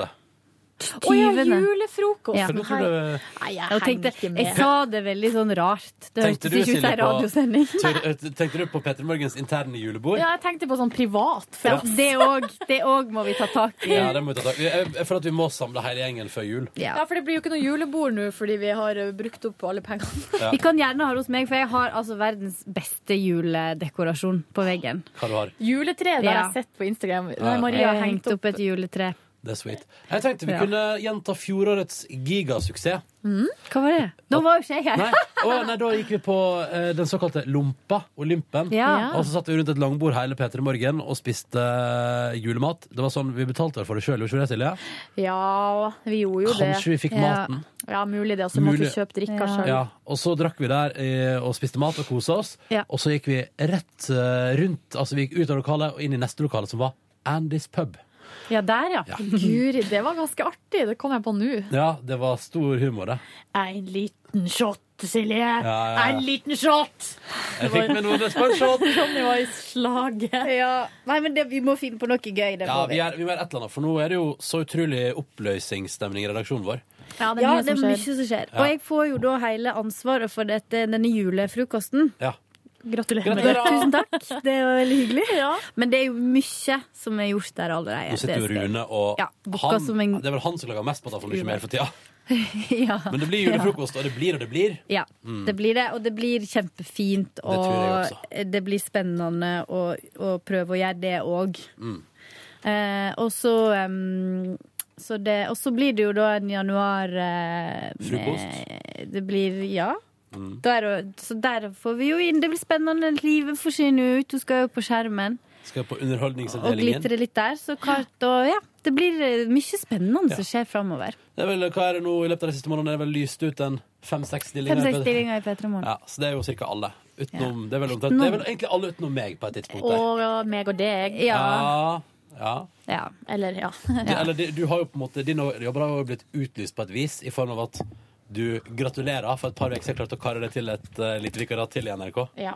S3: Å ja,
S11: 20.. Eh, Ja.
S3: julefrokosten! Her. Nei, jeg
S11: Jeg, tenkte,
S3: henger ikke med.
S11: jeg sa det veldig sånn rart. Det
S2: Tenkte du,
S11: hørtes ikke ut som
S2: Silje,
S11: en
S2: på,
S11: radiosending.
S2: tur- eh, *laughs* tenkte du på Petter Morgens interne julebord?
S3: Ja, jeg tenkte på sånn privat
S11: Ja,
S3: fest.
S11: det òg- det òg må vi ta tak i.
S2: Ja, det må vi ta tak i. Jeg, jeg føler at vi må samle hele gjengen før jul.
S3: Ja. for det blir jo ikke noe julebord nå fordi vi har eh, brukt opp alle
S11: *laughs*
S3: pengene.
S2: Ja.
S11: Vi kan gjerne ha det hos meg, for jeg har altså verdens beste juledekorasjon på veggen.
S2: Hva du har.
S3: Juletreet der
S11: Ja.
S3: jeg sett på Instagram. Nei,
S2: Ja.
S3: Maria har
S11: Jeg
S3: hengt
S11: hengte
S3: opp
S11: Eh, opp et juletre.
S2: Det er sweet. Jeg tenkte vi
S11: Ja.
S2: kunne gjenta fjorårets gigasuksess.
S11: Hva var det? Da var jo ikke jeg *laughs*
S2: Nei,
S11: her.
S2: å, nei, da gikk vi på eh, den såkalte lompa, olympen.
S11: Ja.
S2: Og så satt vi rundt et langbord hele Peter i morgen og spiste eh, julemat. Det var sånn, Vi betalte vel for det sjøl, gjorde vi ikke det, Silje?
S3: Ja, vi gjorde jo det.
S2: Kanskje vi fikk maten.
S3: Ja, mulig det. Og så måtte vi
S2: Mulig.
S3: kjøpe drikka
S2: Ja.
S3: sjøl.
S2: og så drakk vi der eh, og spiste mat og kosa oss.
S11: Ja.
S2: Og så gikk vi rett eh, rundt, altså vi gikk ut av lokalet og inn i neste lokale, som var Andys pub.
S11: Ja, der, ja.
S3: Guri, det var ganske artig. Det kom jeg på nå.
S2: Ja, det var stor humor, det.
S3: En liten shot, Silje.
S2: ja, ja.
S3: En liten shot!
S2: Jeg fikk med noe spørsmål.
S11: *laughs*
S3: Ronny var i slaget.
S11: Ja. Nei, men det, vi må finne på noe gøy. Det
S2: Ja,
S11: må
S2: vi, er, vi må gjøre et eller annet, for nå er det jo så utrolig oppløsningsstemning i redaksjonen vår.
S3: Ja,
S11: Ja, det er mye som skjer.
S2: Ja.
S11: Og jeg får jo da hele ansvaret for dette, denne julefrokosten.
S2: Ja. med
S3: Gratulerer
S2: det. Gratulerer.
S11: Tusen *laughs* takk. Det var veldig hyggelig. Men det er jo mye som er gjort der allerede.
S2: Nå sitter
S11: Det
S2: jo
S11: skal jeg-
S2: Rune og
S11: Ja, booka
S2: han,
S11: som en-
S2: Det er vel han som lager mest på at han får mye mer for tida.
S11: *laughs* ja.
S2: Men det blir julefrokost, og det blir og det blir.
S11: Ja,
S2: Mm.
S11: det blir det. Og det blir kjempefint.
S2: tror jeg
S11: Og det, blir spennende å, å prøve å gjøre det òg.
S2: Mm.
S11: Eh, og så em, Så det, og så blir det jo da en januar eh, med-
S13: Frokost?
S11: Eh, Det blir Ja.
S2: Mm.
S11: Da er det- så der får vi jo inn. Det blir spennende. Livet forsvinner jo ut. Hun skal jo på skjermen
S2: Skal på
S11: og
S2: underholdningsavdelingen.
S11: glitre litt der. Så klart og ja. Det blir eh, mye spennende som skjer framover.
S2: Det er vel, hva er det nå i løpet av de siste månedene? Det er vel lyst ut en fem-seks stillinger?
S11: Fem-seks stillinger i P3 Morgen.
S2: Ja, så det er jo cirka alle. Utenom, det, er vel omtrent, det er vel egentlig alle utenom meg på et tidspunkt. Der.
S3: Og meg og deg.
S2: ja, ja.
S11: Ja.
S3: Eller, ja.
S2: Det- Eller det- du har jo på en måte Din jobber har jo blitt utlyst på et vis, i form av at du gratulerer for et par uker klarte å karre deg til et uh, lite vikariat til i NRK.
S3: Ja.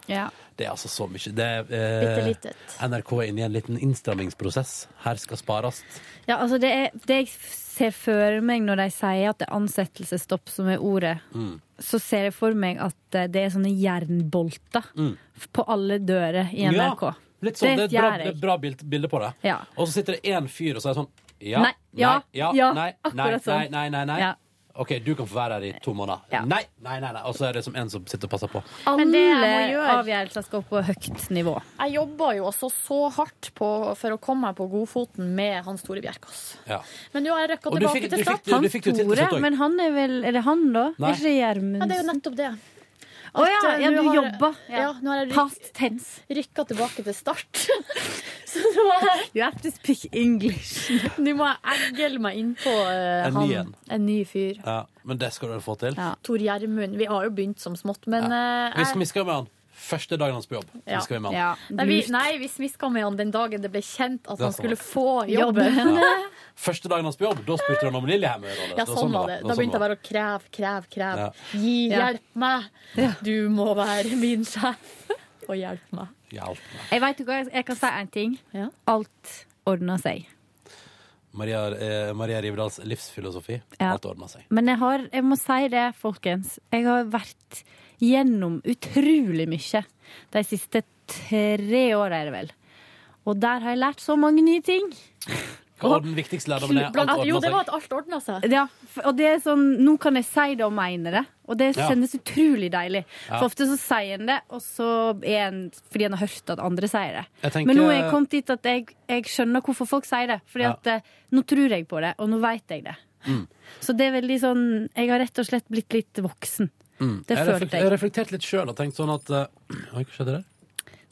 S2: Det er altså så mye. Det, er,
S11: Bitte litet.
S2: NRK er inne i en liten innstrammingsprosess. Her skal spares.
S11: Ja, altså det, er, det jeg ser for meg når de sier at det er ansettelsesstopp som er ordet,
S2: Mm.
S11: så ser jeg for meg at eh, det er sånne jernbolter
S2: Mm.
S11: på alle dører i NRK.
S2: Ja, litt sånn, det, er et bra,
S11: gjør
S2: det er
S11: jeg.
S2: et bra bild, bilde på det.
S11: Ja.
S2: Og så sitter det én fyr og så er det sånn ja,
S11: Nei, ja,
S2: nei,
S11: ja,
S2: nei, nei,
S11: akkurat sånn.
S2: nei, nei, nei, nei.
S11: Ja.
S2: OK, du kan få være her i to måneder. Nei, nei, nei, nei. Og så er det som en som sitter og passer på.
S3: Men det jeg må
S11: Alle
S3: gjøre-
S11: avgjørelser skal opp på høyt nivå.
S3: Jeg jobba jo også så hardt på, for å komme meg på godfoten med Hans Tore Bjerkås.
S2: Ja.
S3: Men nå har jeg røkka
S2: Og du
S3: tilbake
S2: fikk-
S3: til
S2: du fikk-
S3: start.
S2: du- du fikk det jo til til slutt også.
S11: men han er vel Er det han, da?
S2: Nei.
S11: Er ikke det Gjermundsen?
S3: Ja, det er jo nettopp det.
S11: Å ja,
S3: At, eh,
S11: ja,
S3: nå
S11: du
S3: har-
S11: jobba. Ja.
S3: Ja, nå har jeg
S11: Past tense.
S3: rykka tilbake til start. *laughs* Så nå må jeg,
S11: You have to speak English.
S3: *laughs* nå må jeg eggle meg innpå uh,
S2: En ny en.
S3: han. En ny fyr.
S2: Ja, men det skal du vel få til.
S3: Tor Gjermund. Vi har jo begynt som smått, men eh,
S2: Vi
S3: jeg-
S2: skal, vi skal med han. Første dagen hans på jobb.
S3: Ja.
S2: Vi skal med han.
S3: Ja. Nei, vi, nei, vi smiska med han den dagen det ble kjent at
S2: Det er
S3: han
S2: sant.
S3: skulle få jobben.
S11: *laughs*
S2: Ja. Første dagen hans på jobb, da spurte han om Lillehammer.
S3: Ja, sånn var det. Da begynte jeg bare å kreve, kreve, kreve.
S2: Ja.
S3: Gi,
S11: Ja.
S3: hjelp meg! Du må være min sjef *laughs* og hjelpe meg.
S2: Hjelp meg.
S11: Jeg vet jo hva, jeg- jeg kan si én ting. Alt ordner seg.
S2: Maria, eh, Maria Rivdals livsfilosofi.
S11: Ja.
S2: Alt ordna seg.
S11: Men jeg har, jeg må si det, folkens. Jeg har vært gjennom utrolig mye de siste tre åra, er det vel. Og der har jeg lært så mange nye ting.
S2: Hva var den viktigste lærdommen? er? Alt
S11: Blant-
S2: ordnet
S11: jo, det
S2: seg.
S11: var
S3: At alt ordna seg.
S11: Ja, f- og det er sånn, Nå kan jeg si det og mene det, og det
S2: Ja.
S11: kjennes utrolig deilig.
S2: Ja.
S11: For ofte så sier en det, og så er en, fordi en har hørt at andre sier det.
S2: Jeg tenker-
S11: Men nå er jeg kommet dit at jeg, jeg skjønner hvorfor folk sier det. Fordi
S2: Ja.
S11: at eh, nå tror jeg på det, og nå veit jeg det.
S2: Mm.
S11: Så det er veldig sånn Jeg har rett og slett blitt litt voksen.
S2: Mm.
S11: Det
S2: jeg.
S11: følte
S2: reflek-
S11: jeg.
S2: Jeg reflekterte litt sjøl og tenkte sånn at eh, Oi, hva skjedde der?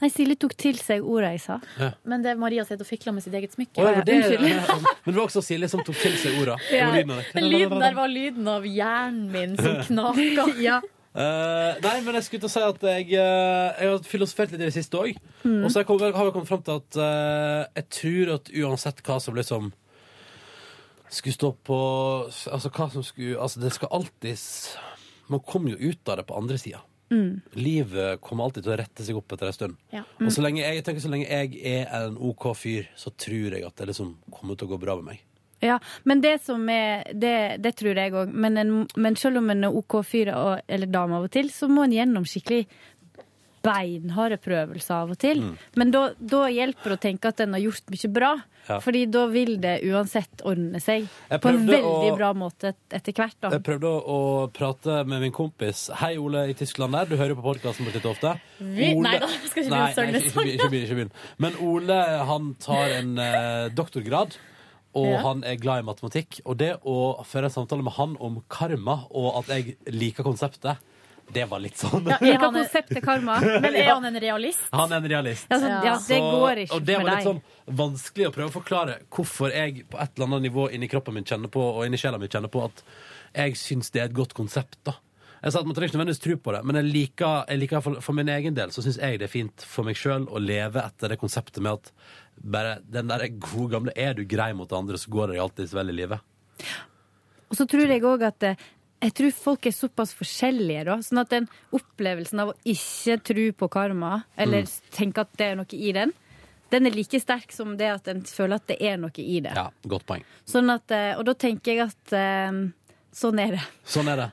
S11: Nei, Silje tok til seg ordet jeg sa.
S2: Ja.
S3: Men det Maria sitter og fikler med sitt eget smykke.
S2: Å, ja, det, ja, *laughs* men det var også Silje som tok til seg orda.
S3: Ja.
S2: og lyden av det.
S3: Den lyden der var lyden av hjernen min *laughs* som knaka.
S2: Eh, nei, men jeg skulle til å si at jeg, eh, jeg har filosofert litt i det siste òg.
S13: Mm.
S2: Og så har jeg kommet- har jeg kommet fram til at eh, jeg tror at uansett hva som liksom skulle stå på Altså hva som skulle Altså det skal alltids Man kommer jo ut av det på andre sida.
S13: Mm.
S2: Livet kommer alltid til å rette seg opp etter en stund.
S13: Ja. Mm.
S2: Og så lenge jeg, jeg tenker så lenge jeg er en OK fyr, så tror jeg at det liksom kommer til å gå bra med meg.
S11: Ja, men det som er Det, det tror jeg òg. Men, en- men selv om en er OK fyr og, eller dame av og til, så må en gjennom skikkelig beinharde prøvelser av og til.
S13: Mm.
S11: Men da, da hjelper det å tenke at en har gjort mye bra.
S2: Ja.
S11: Fordi da vil det uansett ordne seg
S2: Jeg
S11: på en
S2: prøvde
S11: veldig
S2: å-
S11: bra måte et- etter hvert. da.
S2: Jeg prøvde å å prate med min kompis. Hei, Ole i Tyskland der. Du hører jo på podkasten vår litt ofte.
S3: Vi- nei da, jeg skal ikke begynne
S2: Nei,
S3: å synge
S2: nei,
S3: den
S2: ikke, ikke, ikke, begynn, ikke begynn. Men Ole han tar en eh, doktorgrad, og
S13: Ja.
S2: han er glad i matematikk. Og det å føre en samtale med han om karma, og at jeg liker konseptet, det var litt sånn.
S11: Ja, jeg har konseptet
S2: *laughs*
S11: karma.
S3: Men er han en realist?
S2: Han er en realist.
S11: Ja, så- ja, det
S2: Så-
S11: går ikke
S2: Og det
S11: med
S2: var litt
S11: deg.
S2: sånn vanskelig å prøve å forklare hvorfor jeg på et eller annet nivå inni kroppen min kjenner på, og inni sjela min kjenner på, at jeg syns det er et godt konsept, da. Jeg sa at Man trenger ikke nødvendigvis tro på det, men jeg liker, jeg liker for, for min egen del så syns jeg det er fint for meg sjøl å leve etter det konseptet med at bare den der gode gamle Er du grei mot andre, så går det alltids vel i livet.
S11: Og så tror jeg òg at eh, jeg tror folk er såpass forskjellige, da. Sånn at den opplevelsen av å ikke tro på karma, eller
S13: Mm.
S11: tenke at det er noe i den, den er like sterk som det at en føler at det er noe i det.
S2: Ja, godt poeng.
S11: Sånn at, eh, og da tenker jeg at eh, sånn er det.
S2: Sånn er det.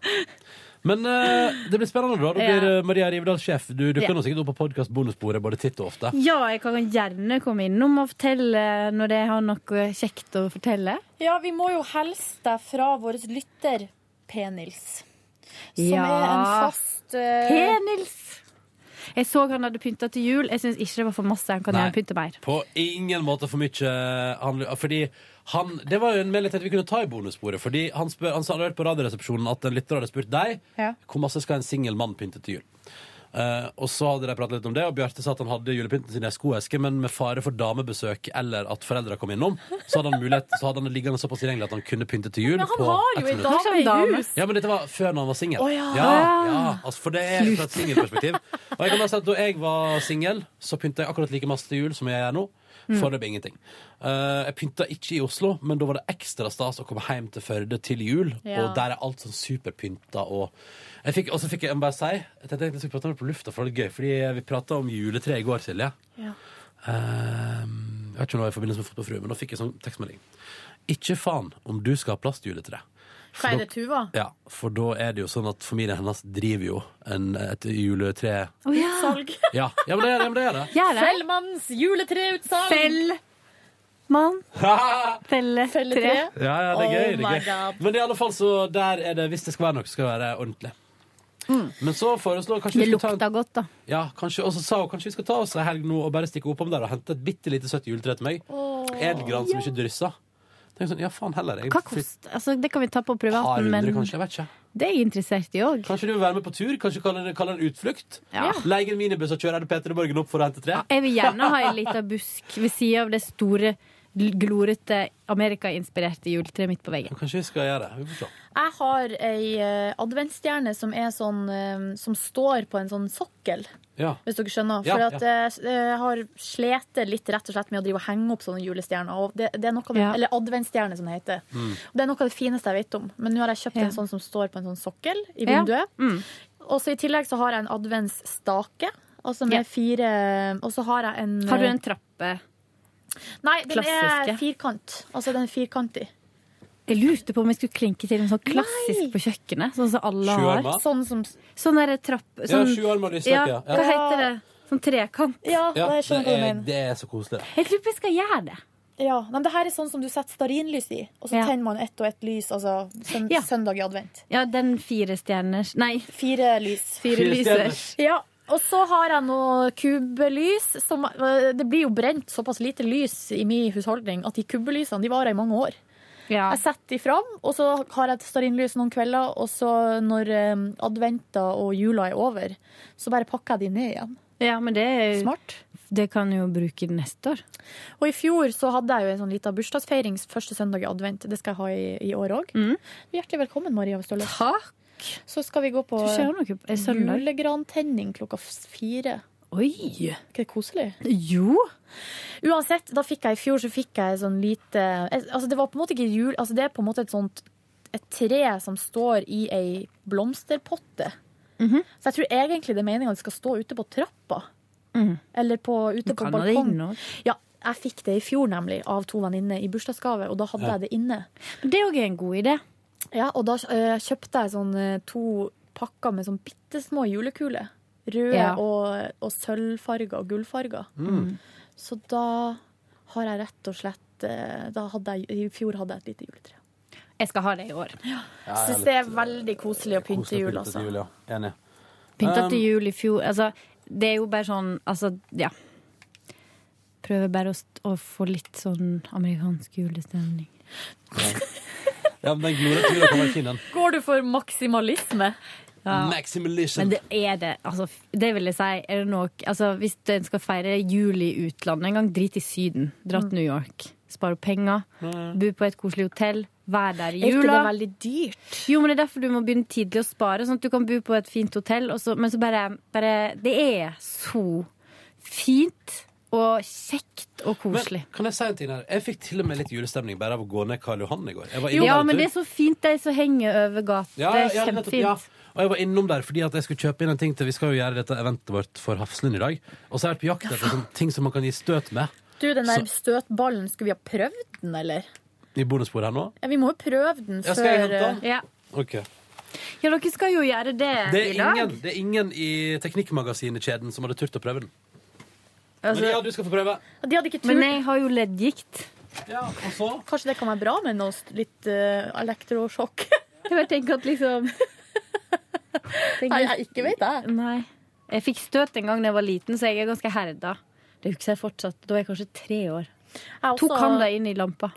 S2: Men eh, det blir spennende, da. Da blir
S11: Ja.
S2: eh, Maria Rivedal sjef. Du dukker
S11: Ja.
S2: nå sikkert opp på podkast bonusbordet både titt og ofte.
S11: Ja, jeg kan gjerne komme innom og fortelle eh, når jeg har noe kjekt å fortelle.
S3: Ja, vi må jo hilse deg fra vår lytter P-Nils, som
S11: Ja.
S3: er en fast eh,
S11: P-Nils! Jeg så han hadde pynta til jul. Jeg syns ikke det var for masse. Han kan
S2: Nei.
S11: gjerne pynte mer.
S2: På ingen måte for mye eh, han, Fordi Han, det var jo en melding til at vi kunne ta i bonussporet. Fordi han, spør, han sa- hadde hørt på Radioresepsjonen at en lytter hadde spurt deg
S14: Ja.
S2: hvor masse skal en singel mann pynte til jul. Eh, og så hadde de pratet litt om det, og Bjarte sa at han hadde julepynten sin i ei skoeske, men med fare for damebesøk eller at foreldra kom innom, så hadde han mulighet Så hadde han det liggende såpass tilgjengelig at han kunne pynte til jul.
S8: Men han
S2: på
S8: har jo
S2: ett
S8: en
S2: minutt.
S8: dame Kanskje en i dame? hus.
S2: Ja, men dette var før han var singel.
S8: Å, ja.
S2: ja, ja, altså, for det er fra et singelperspektiv. Og jeg kan bare si at da jeg var singel, så pynta jeg akkurat like masse til jul som jeg gjør nå.
S13: Mm.
S2: Foreløpig ingenting. Eh, jeg pynta ikke i Oslo, men da var det ekstra stas å komme hjem til Førde til jul.
S13: Ja.
S2: Og der er alt sånn superpynta og jeg fikk, Og så fikk jeg, jeg må bare si Jeg tenkte jeg skulle prate om det på lufta, for det er gøy. Fordi vi prata om juletre i går, Silje.
S8: Ja.
S2: Ehm, jeg vet ikke om det var i forbindelse med Fotballfrue, men da fikk jeg sånn tekstmelding. Ikke faen om du skal ha plastjuletre.
S8: Hva
S2: For da-
S8: er det Tuva?
S2: Ja, for da er det jo sånn at familien hennes driver jo en, et juletre...
S8: Oh, Utsalg.
S2: Ja, ja men det er ja, men det. Er *laughs* det.
S8: Fellmannens juletreutsalg.
S11: Fell. Mann. Felle.
S8: Felletre.
S2: Ja, ja, det er gøy. Det
S8: Oh my
S2: er
S8: God.
S2: gøy. Men i alle fall, så der er det, hvis det skal være noe, skal det være ordentlig. Men så foreslår kanskje
S11: Mm. Det
S2: vi skal ta
S11: lukta godt, da.
S2: en, ja, kanskje, Og så sa hun kanskje vi skal ta oss en helg nå og bare stikke oppom der og hente et bitte lite søtt juletre til meg. Edelgran som ikke drysser. Tenk sånn, ja faen heller. Jeg,
S11: Hva kost? Altså, det kan vi ta
S2: Par
S11: på privaten,
S2: hundre,
S11: men
S2: kanskje. Jeg vet ikke.
S11: det er jeg interessert i òg.
S2: Kanskje du vil være med på tur? Kanskje kalle det, kalle det en utflukt?
S11: Ja.
S2: Leie en minibuss og kjøre Peter i Borgen opp for å hente tre?
S11: Jeg vil gjerne ha en liten busk ved sida av det store, gl- glorete Amerika-inspirerte juletreet mitt på veggen.
S2: Kanskje vi skal gjøre det. Vi får se.
S3: Jeg har ei eh, adventsstjerne som er sånn eh, Som står på en sånn sokkel.
S2: Ja.
S3: Hvis dere skjønner.
S2: Ja,
S3: For at,
S2: ja.
S3: eh, s- eh, jeg har slitt litt rett og slett med å drive og henge opp sånne julestjerner. Og det, det er noe av det,
S11: Ja.
S3: Eller adventsstjerne, som det heter. Og Det er noe av det fineste jeg vet om. Men nå har jeg kjøpt en sånn som står på en sånn sokkel i
S11: Ja. Mm.
S3: vinduet. Og så I tillegg så har jeg en adventsstake. Altså med
S11: Ja.
S3: fire Og så har jeg en eh,
S11: Har du en trappe?
S3: Nei, den
S11: Klassiske?
S3: er firkant. Altså den er firkantig.
S11: Jeg lurte på om jeg skulle klinke til en sånn klassisk på kjøkkenet, sånn som alle har.
S2: Sjuarma?
S3: Sånn som
S11: Sånn derre trapp...
S2: Ja,
S11: Sånn,
S2: sjuarma lysstake, ja. Ja.
S11: Hva heter det? Sånn trekant?
S2: Ja,
S11: sånn
S2: det, er, det er så koselig.
S11: Jeg tror vi skal gjøre det.
S3: Ja, men det her er sånn som du setter stearinlys i, og så
S11: Ja.
S3: tenner man ett og ett lys, altså søn søndag i advent.
S11: Ja, den fire stjerners Nei.
S3: Fire lys.
S11: Fire lysers.
S3: Ja, og så har jeg noe kubbelys. Som, eh, det blir jo brent såpass lite lys i min husholdning at de kubbelysene de varer i mange år. Jeg setter de fram, og så har jeg et stearinlys noen kvelder, og så når um, adventa og jula er over, så bare pakker jeg de ned igjen.
S11: Ja, men det er
S3: Smart.
S11: Det kan jo bruke det neste år.
S3: Og i fjor så hadde jeg jo en sånn liten bursdagsfeiring første søndag i advent. Det skal jeg ha i, i år òg. Hjertelig velkommen, Maria Ståle.
S11: Takk.
S3: Så skal vi gå på
S11: Du ser jo noe på- er søndag?
S3: julegrantenning klokka f- fire.
S11: Oi!
S3: Ikke det koselig?
S11: Jo.
S3: Uansett, da fikk jeg i fjor så fikk jeg sånn lite eh, Altså det var på en måte ikke jul, altså det er på en måte et sånt et tre som står i ei blomsterpotte. Så jeg tror egentlig det er meninga at det skal stå ute på trappa. Eller på, ute
S11: Du
S3: på
S11: kan ha det
S3: balkong.
S11: inne også.
S3: Ja, jeg fikk det i fjor nemlig av to venninner i bursdagsgave, og da hadde
S11: Ja.
S3: jeg det inne.
S11: Det er òg en god idé.
S3: Ja, og da eh, kjøpte jeg sånn eh, to pakker med sånn bitte små julekuler. Røde
S11: Ja.
S3: og, og sølvfarger og gullfarger.
S11: Mm.
S3: Så da har jeg rett og slett eh, da hadde jeg, I fjor hadde jeg et lite juletre.
S11: Jeg skal ha det i år.
S2: Ja,
S3: Jeg
S2: jeg er
S3: syns det er veldig koselig å pynte jul,
S2: Pyntet
S3: altså.
S2: til jul, ja. Enig.
S11: Pynta
S2: Um,
S11: til jul i fjor. Altså, det er jo bare sånn Altså, ja. Prøver bare å, st å få litt sånn amerikansk julestemning.
S2: Ja, men den gloraturen kommer fin, den.
S3: Går du for maksimalisme?
S2: Maximalism.
S11: Men det er det. Altså, f- det vil jeg si. Er det noe, altså, hvis en skal feire jul i utlandet en gang, drit i Syden. Dra til
S3: Mm.
S11: New York. Spare penger.
S3: Mm.
S11: Bo på et koselig hotell. Vær der i
S3: Er ikke
S11: jula.
S3: det veldig dyrt?
S11: Jo, men det er derfor du må begynne tidlig å spare, sånn at du kan bo på et fint hotell. Og så, men så bare, bare Det er så fint og kjekt og koselig.
S2: Kan jeg si en ting her? Jeg fikk til og med litt julestemning bare av å gå ned Karl Johan i går. Jeg var innom
S11: ja,
S2: der en
S11: men
S2: tur.
S11: det er så fint, de som henger over gata.
S2: Ja,
S11: det
S2: ja,
S11: er
S2: ja, nettopp,
S11: kjempefint.
S2: ja. Og jeg var innom der fordi at jeg skulle kjøpe inn en ting til Vi skal jo gjøre dette eventet vårt for Hafslund i dag. Og så har jeg vært på jakt etter sånne ting som man kan gi støt med.
S3: Du, den der
S2: Så-
S3: støtballen, skulle vi ha prøvd den, eller?
S2: I bonusbordet her nå.
S3: Ja, vi må jo prøve den
S2: Ja,
S3: før
S2: skal jeg hente den?
S3: eh,
S11: Ja.
S2: Ok.
S11: ja, dere skal jo gjøre det,
S2: Det er
S11: i dag.
S2: ingen, det er ingen i Teknikkmagasinet-kjeden som hadde turt å prøve den.
S11: Altså-
S2: men ja, du skal få prøve.
S3: De hadde ikke turt.
S11: Men jeg har jo leddgikt.
S3: Kanskje det kan være bra med noe st- litt eh, elektrosjokk?
S11: *laughs* Jeg bare tenker at liksom *laughs*
S3: Nei, jeg ikke vet det.
S11: Nei. Jeg fikk støt en gang da jeg var liten, så jeg er ganske herda. Det husker jeg fortsatt. Da var jeg kanskje tre år.
S3: Jeg
S11: Tok
S3: også-
S11: han deg inn i lampa?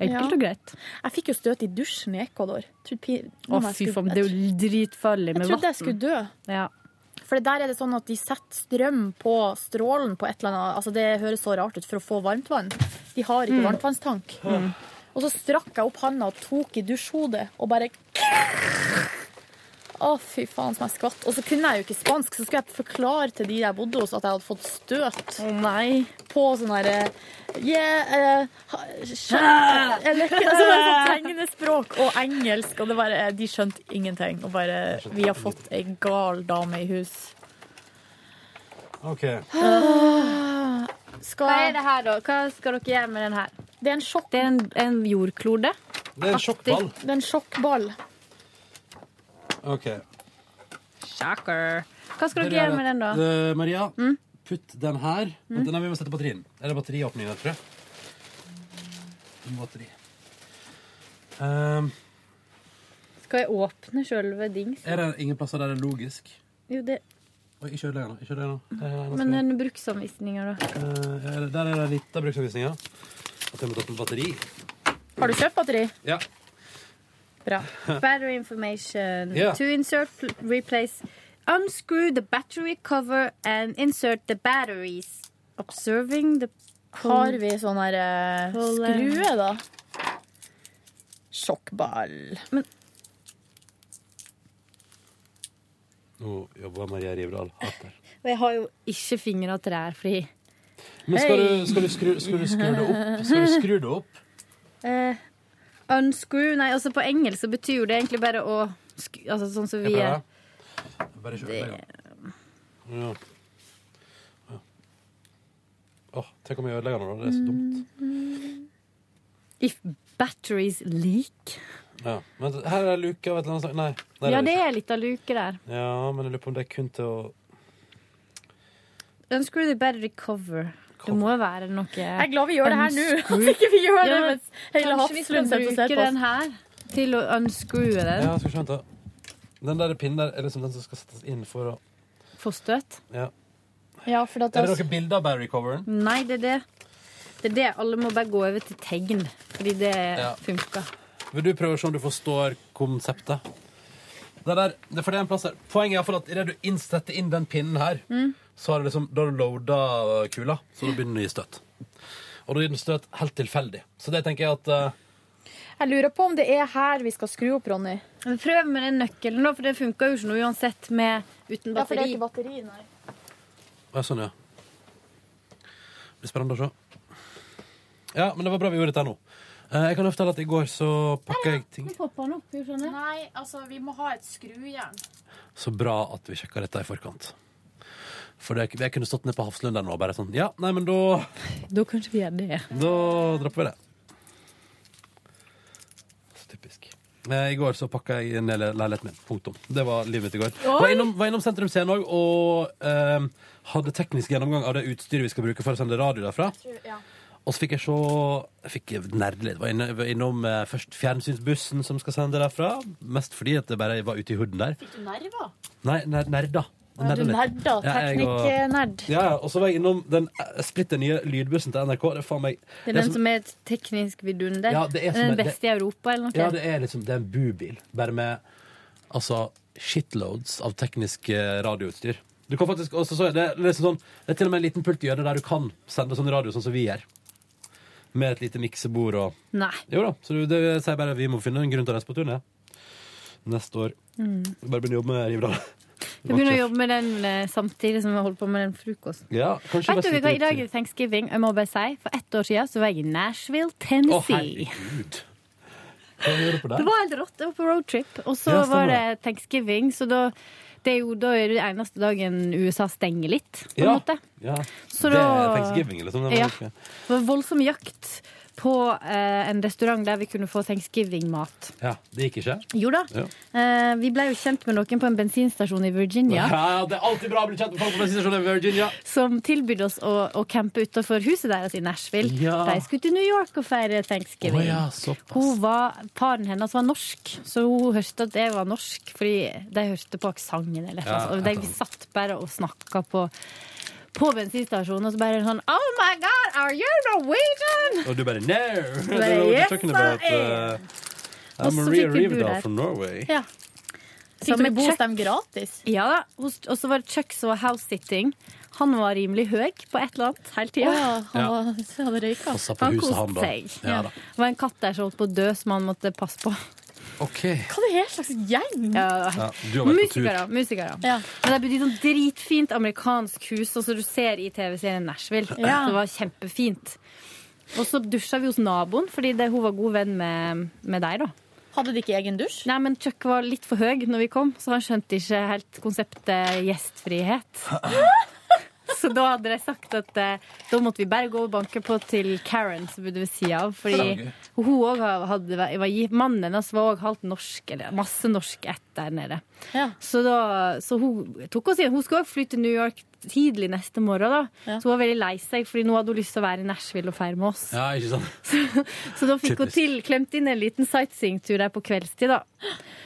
S11: Enkelt og greit.
S3: Altså, Jeg fikk jo støt i dusjen i Ecuador. Trodde pi-
S11: Å, fy faen, det er jo dritfarlig
S3: Jeg
S11: med vann.
S3: trodde jeg skulle dø. For der er det sånn at de setter strøm på strålen på et eller annet Altså Det høres så rart ut for å få varmtvann. De har ikke
S11: Mm.
S3: varmtvannstank.
S11: Mm.
S3: Og så strakk jeg opp handa og tok i dusjhodet og bare Å, fy faen som jeg skvatt. Og så kunne jeg jo ikke spansk, så skulle jeg forklare til de jeg bodde hos at jeg hadde fått støt. På sånn herre yeah, uh, Eller ikke altså, bare sånn tegnespråk og engelsk, og det bare, eh, de skjønte ingenting. Og bare Vi har fått ei gal dame i hus.
S2: OK.
S3: Skal...
S11: Hva er det her, da? Hva skal dere gjøre med den her?
S3: Det er en sjokk...
S11: Det er en, en jordklode.
S2: Det er en sjokkball.
S3: Det er en sjokkball.
S2: OK.
S11: Shocker. Hva skal dere gjøre med den, da? Mm.
S2: Eh, Maria, putt den her. Vent, Nei, vi må sette batterien. Er det batteriåpningen her, tror jeg? Batteri. Ehm,
S11: Skal jeg åpne sjølve dings?
S2: er det ingen plasser der det er logisk?
S11: Jo, det
S2: Oi, ikke ødelegg nå. Ikke ødelegg nå. Det er noe som-
S11: Men den bruksanvisninga, da?
S2: Eh, er det- der er det litt av bruksanvisninga. At jeg må ta på batteri.
S3: Har du kjøpt batteri?
S2: Ja.
S3: Bra.
S11: Battery information.
S2: Ja.
S11: To insert, pl- replace. Unscrew the battery cover and insert the batteries. Observing the
S3: Har vi sånn her eh, skrue, da? Sjokkball.
S2: Nå jobber Maria Rivdal hardt
S11: *laughs*
S2: der.
S11: Og jeg har jo ikke fingra til det her, fordi
S2: Men skal du, skal du, skru, skal du skru det opp? Skal du skru det opp?
S11: Eh, unscrew Nei, altså på engelsk så betyr jo det egentlig bare å sk Altså sånn som
S2: Jeg
S11: vi er.
S2: prøver. Bare kjør det. Ja. Ja. Åh, tenk om jeg ødelegger noe, da. Det er så dumt.
S11: If batteries leak.
S2: Ja. Men her er luke av et eller annet slag. Nei. nei
S11: Ja,
S2: er
S11: det
S2: ikke.
S11: er litt av luke der.
S2: Ja, men jeg lurer på om det er kun til å
S11: Unscrew the battery cover. Det må jo være noe Jeg
S3: er glad vi gjør det her nå, at
S11: Unscrew-
S3: ikke vi gjør det
S11: Ja,
S3: mens hele
S11: kanskje vi skal
S3: Hafslund sitter og ser
S11: bruke
S3: på oss.
S11: den her til å unscrew den.
S2: Ja, skal vi se, vent da. Den der pinnen der er liksom den som skal settes inn for å
S11: Få støt.
S2: Ja.
S3: Ja, for
S2: Er det noen bilder av Barry-coveren?
S11: Nei, det er det. Det er det. Alle må bare gå over til tegn, fordi det funker.
S2: Vil du prøve å se om du forstår konseptet? Det der, det er for det er en plass her. Poenget er i hvert fall at idet du innsetter inn den pinnen her, så har du liksom, da har du loada kula, så da begynner den å gi støt. Og da gir den støt helt tilfeldig. Så det tenker jeg at eh,
S3: Jeg lurer på om det er her vi skal skru opp, Ronny.
S11: Men Prøv med den nøkkelen, da, for det funker jo ikke noe uansett med, uten
S3: Ja, for det er
S11: batteri.
S3: ikke batteri, nei.
S2: Ja, sånn, ja. Blir spennende å se. Ja, men det var bra vi gjorde dette nå. Eh, Jeg kan jo fortelle at i går så pakka jeg ting
S3: Nei, altså, vi må ha et skrujern.
S2: Så bra at vi sjekka dette i forkant. For det, jeg kunne stått ned på Hafslund der nå og bare sånn Ja, nei, men da
S11: Da kanskje vi gjør det.
S2: Da dropper vi det. Så typisk. Eh, I går så pakka jeg ned le- leiligheten min. Punktum. Det var livet mitt i går.
S13: Oi!
S2: Var innom, var innom Sentrum Scene òg og eh, hadde teknisk gjennomgang av det utstyret vi skal bruke for å sende radio derfra. Og så fikk jeg se Jeg fikk nerde litt. Var inne- var innom eh, først fjernsynsbussen som skal sende derfra. Mest fordi at det bare var ute i hooden der.
S3: Fikk du nerver?
S2: Nei, ner, nerda.
S3: Ja, eh, du
S2: litt.
S3: nerda.
S2: jeg og-
S11: Teknikk-nerd.
S2: Ja, ja, og så var jeg innom den eh, splitter nye lydbussen til NRK. Det er faen meg
S11: Det er
S2: det er
S11: den som er et teknisk vidunder.
S2: Ja, det er som
S11: den
S2: er- det-
S11: beste i Europa, eller noe.
S2: Ja, det er liksom det er en bubil, bare med altså, shitloads av teknisk eh, radioutstyr. Du kan faktisk også, så er det, liksom sånn, det er til og med en liten pult i hjørnet der du kan sende sånn radio sånn som vi gjør. Med et lite miksebord og
S11: Nei.
S2: Jo da. Så du- det sier bare at vi må finne en grunn til å reise på turné neste år.
S11: Mm.
S2: Bare begynne å jobbe med Rivdal.
S11: Jeg begynner å jobbe med den eh, samtidig som jeg holder på med den frokosten.
S2: Ja, kanskje
S11: Vet
S2: bare
S11: du
S2: sitte
S11: hva, I dag
S2: ute.
S11: er thanksgiving. Jeg må bare si, For ett år siden så var jeg i Nashville,
S2: Å,
S11: Tennessee.
S2: herregud. Hva gjør du på
S11: det
S2: der?
S11: var helt rått. Jeg var på roadtrip. Og så
S2: Ja, stemmer
S11: var det thanksgiving, så da det er jo da er det eneste dagen USA stenger litt, på en
S2: Ja.
S11: måte.
S2: Ja.
S11: Så
S2: det er
S11: da-
S2: thanksgiving, liksom. Det
S11: Ja.
S2: var ikke-
S11: Det var voldsom jakt på eh, en restaurant der vi kunne få thanksgiving-mat.
S2: ja. Det gikk ikke?
S11: Jo da.
S2: Ja.
S11: Eh, vi ble jo kjent med noen på en bensinstasjon i Virginia.
S2: Ja, det er alltid bra å bli kjent med folk på bensinstasjonen i Virginia.
S11: Som tilbød oss å, å campe utenfor huset deres i Nashville.
S2: Ja.
S11: De skulle til New York og feire thanksgiving.
S2: Å ja, såpass.
S11: hun var, Paren hennes var norsk, så hun hørte at jeg var norsk fordi de hørte på aksenten. Eller, et eller
S2: Ja,
S11: annet. og
S2: et eller
S11: de satt bare og snakka på, på bensinstasjonen, og så bare sånn Oh my God, are you Norwegian?
S2: Og du bare No! Yes,
S11: yes, I
S2: uh,
S11: Og
S2: I'm
S11: så
S2: Maria
S11: fikk vi bo
S2: Rivdal
S11: der.
S2: from Norway.
S11: Ja.
S3: Fikk dere bo hos dem gratis?
S11: Ja da. hos- Og så var det Chuck som var house-sitting. Han var rimelig høy på et eller annet hele tida.
S3: Å, *laughs* han Ja. var- hadde røyka. Passa på huset, han da.
S11: seg.
S3: Ja da.
S11: Det var en katt der som holdt på å dø, som han måtte passe på.
S3: Hva er det her slags gjeng?
S11: Ja,
S2: Ja, du har vært på tur.
S11: musikere. musikere. Men det bodde i sånn dritfint amerikansk hus, og som du ser i TV-serien Nashville.
S3: Ja.
S11: Det var kjempefint. Og så dusja vi hos naboen, fordi det, hun var god venn med, med deg, da.
S3: Hadde de ikke egen dusj?
S11: Nei, men Chuck var litt for høy når vi kom, så han skjønte ikke helt konseptet gjestfrihet. Så da hadde de sagt at eh, da måtte vi bare gå og banke på til Karen, som bodde ved sida av. Fordi
S3: Flagget.
S11: hun òg hadde var, gi- Mannen hennes var òg halvt norsk, eller masse norsk ett der nede. Så, da, så hun tok oss igjen. Hun skulle òg fly til New York tidlig neste morgen, da. Så hun var veldig lei seg, fordi nå hadde hun lyst til å være i Nashville og feire med oss.
S2: Ja, ikke sant?
S11: Så da fikk hun
S2: Typisk.
S11: til, klemt inn en liten sightseeingtur der på kveldstid, da.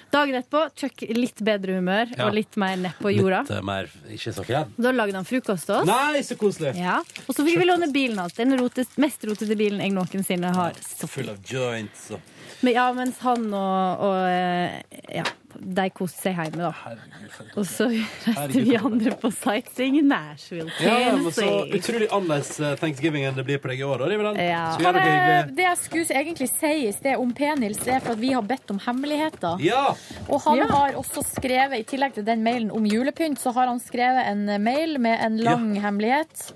S11: Dagen etterpå, Chuck i litt bedre humør
S2: Ja.
S11: og litt mer nedpå jorda.
S2: Litt eh, mer Ikke så redd.
S11: Da lagde han frokost til oss.
S2: Nei, så koselig!
S11: Ja. Og så fikk vi låne bilen hans. Den rotes, mest rotete bilen jeg noensinne har.
S2: Full av joints og
S11: Men, ja, mens han og, og eh, ja, de koste seg hjemme, da. Og så reiste vi andre på sightseeing i Nashville.
S2: Ja, men så
S11: Tennessee.
S2: utrolig annerledes eh, thanksgiving enn det blir på deg i år, da, Riveland.
S11: Ja.
S2: Så gjør dere
S3: Det,
S2: hyggelig.
S3: Eh, det jeg skulle egentlig si i sted om P-Nils, er for at vi har bedt om hemmeligheter.
S2: Ja!
S3: Og han
S2: Ja.
S3: har også skrevet, i tillegg til den mailen om julepynt, så har han skrevet en mail med en lang hemmelighet.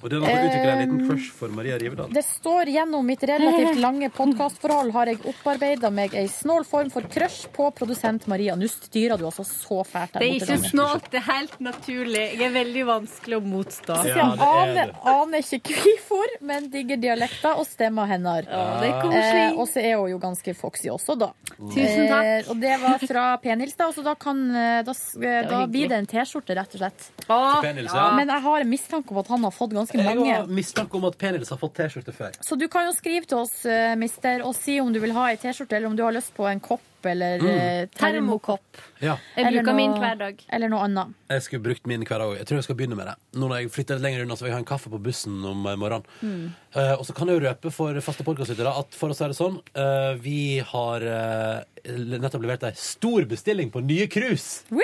S2: Og det er noe å utvikle en liten
S3: Um,
S2: crush for Maria Rivedal.
S3: Det står gjennom mitt relativt lange podkastforhold har jeg opparbeida meg ei snål form for crush på produsent Maria. Nå styrer du altså så fælt
S11: Det
S3: der
S11: er
S3: borte.
S11: ikke
S3: Daniel.
S11: snålt, det er helt naturlig. Jeg er veldig vanskelig å motstå.
S3: Så sier han, aner, aner ikke hvorfor, men digger dialekter og stemmer hennes.
S11: det er koselig.
S3: og så er hun jo ganske foxy også, da. Eh,
S11: Tusen takk.
S3: og det var fra P-Nils, da, så da, kan, eh, da, s- eh, da
S11: hyggelig.
S3: blir det en T-skjorte, rett og slett.
S2: Til P-Nils, ja. ja.
S3: Men jeg har en mistanke om at han har fått ganske
S2: Jeg
S3: mange.
S2: har mistanke om at P-Nils har fått T-skjorte før.
S3: Så du kan jo skrive til oss, eh, mister, og si om du vil ha ei T-skjorte, eller om du har lyst på en kopp eller
S2: Mm.
S3: eh, termokopp.
S2: Ja.
S11: Jeg
S3: Eller
S11: bruker min
S3: noe-
S11: hver dag.
S3: Eller noe annet.
S2: Jeg skulle brukt min hver dag. Jeg tror jeg skal begynne med det. Nå når jeg flytter litt lenger unna, så vil jeg ha en kaffe på bussen om eh, morgenen.
S11: Mm.
S2: Eh, og så kan jeg jo røpe for faste podcastlyttere at for å si det sånn, eh, vi har eh, nettopp levert ei stor bestilling på nye cruise! Fy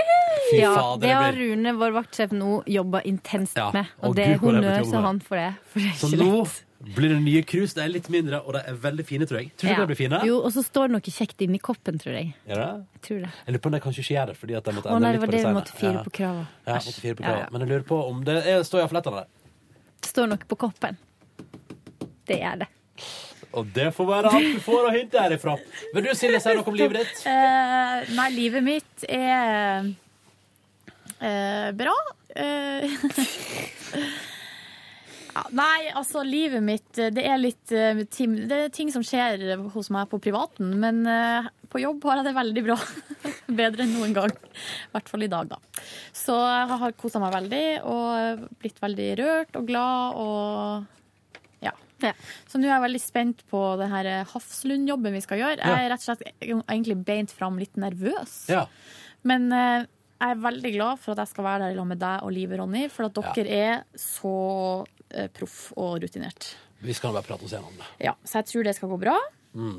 S11: Ja,
S2: fader,
S11: det
S2: det
S11: har
S2: blir-
S11: Rune, vår vaktsjef, nå jobba intenst
S2: Ja,
S11: med.
S2: og
S11: Og det
S2: Gud, hvor
S11: er
S2: det er
S11: honnør
S2: blitt jobbet
S11: til
S2: med.
S11: han for det. For det er
S2: Så
S11: ikke
S2: nå
S11: lett.
S2: blir det nye cruise. De er litt mindre, og de er veldig fine, tror jeg. Tror du ikke
S11: Ja.
S2: de blir fine?
S11: Jo, og så står det noe kjekt inni koppen, tror jeg.
S2: Gjør det?
S11: Jeg tror det.
S2: Jeg lurer på om de kanskje ikke gjør det fordi at de måtte
S11: Å
S2: endre
S11: nei,
S2: litt
S11: det
S2: på
S11: var det vi måtte fire
S2: Ja.
S11: på kravet.
S2: Ja, måtte fire på
S11: Ja,
S2: kravet.
S11: ja.
S2: Men jeg lurer på om det er, står iallfall etter det.
S11: Det står noe på koppen. Det er det.
S2: Og det får være alt du får å hinte herifra. Vil du, Silje, si noe om livet ditt?
S3: Eh, nei, livet mitt er eh, bra. Eh, *laughs* ja, nei, altså, livet mitt eh, Det er litt eh, tim Det er ting som skjer hos meg på privaten, men eh, på jobb har jeg det veldig bra. *laughs* Bedre enn noen gang. I hvert fall i dag, da. Så jeg har kosa meg veldig og blitt veldig rørt og glad og ja. Så nå er jeg veldig spent på det her Hafslund-jobben vi skal gjøre. Jeg er rett og slett egentlig beint fram litt nervøs.
S2: Ja.
S3: Men eh, jeg er veldig glad for at jeg skal være der i lag med deg og Live Ronny, for at dere er så eh, proff og rutinert.
S2: Vi skal bare prate oss gjennom det.
S3: Ja, så jeg tror det skal gå bra.
S2: Mm.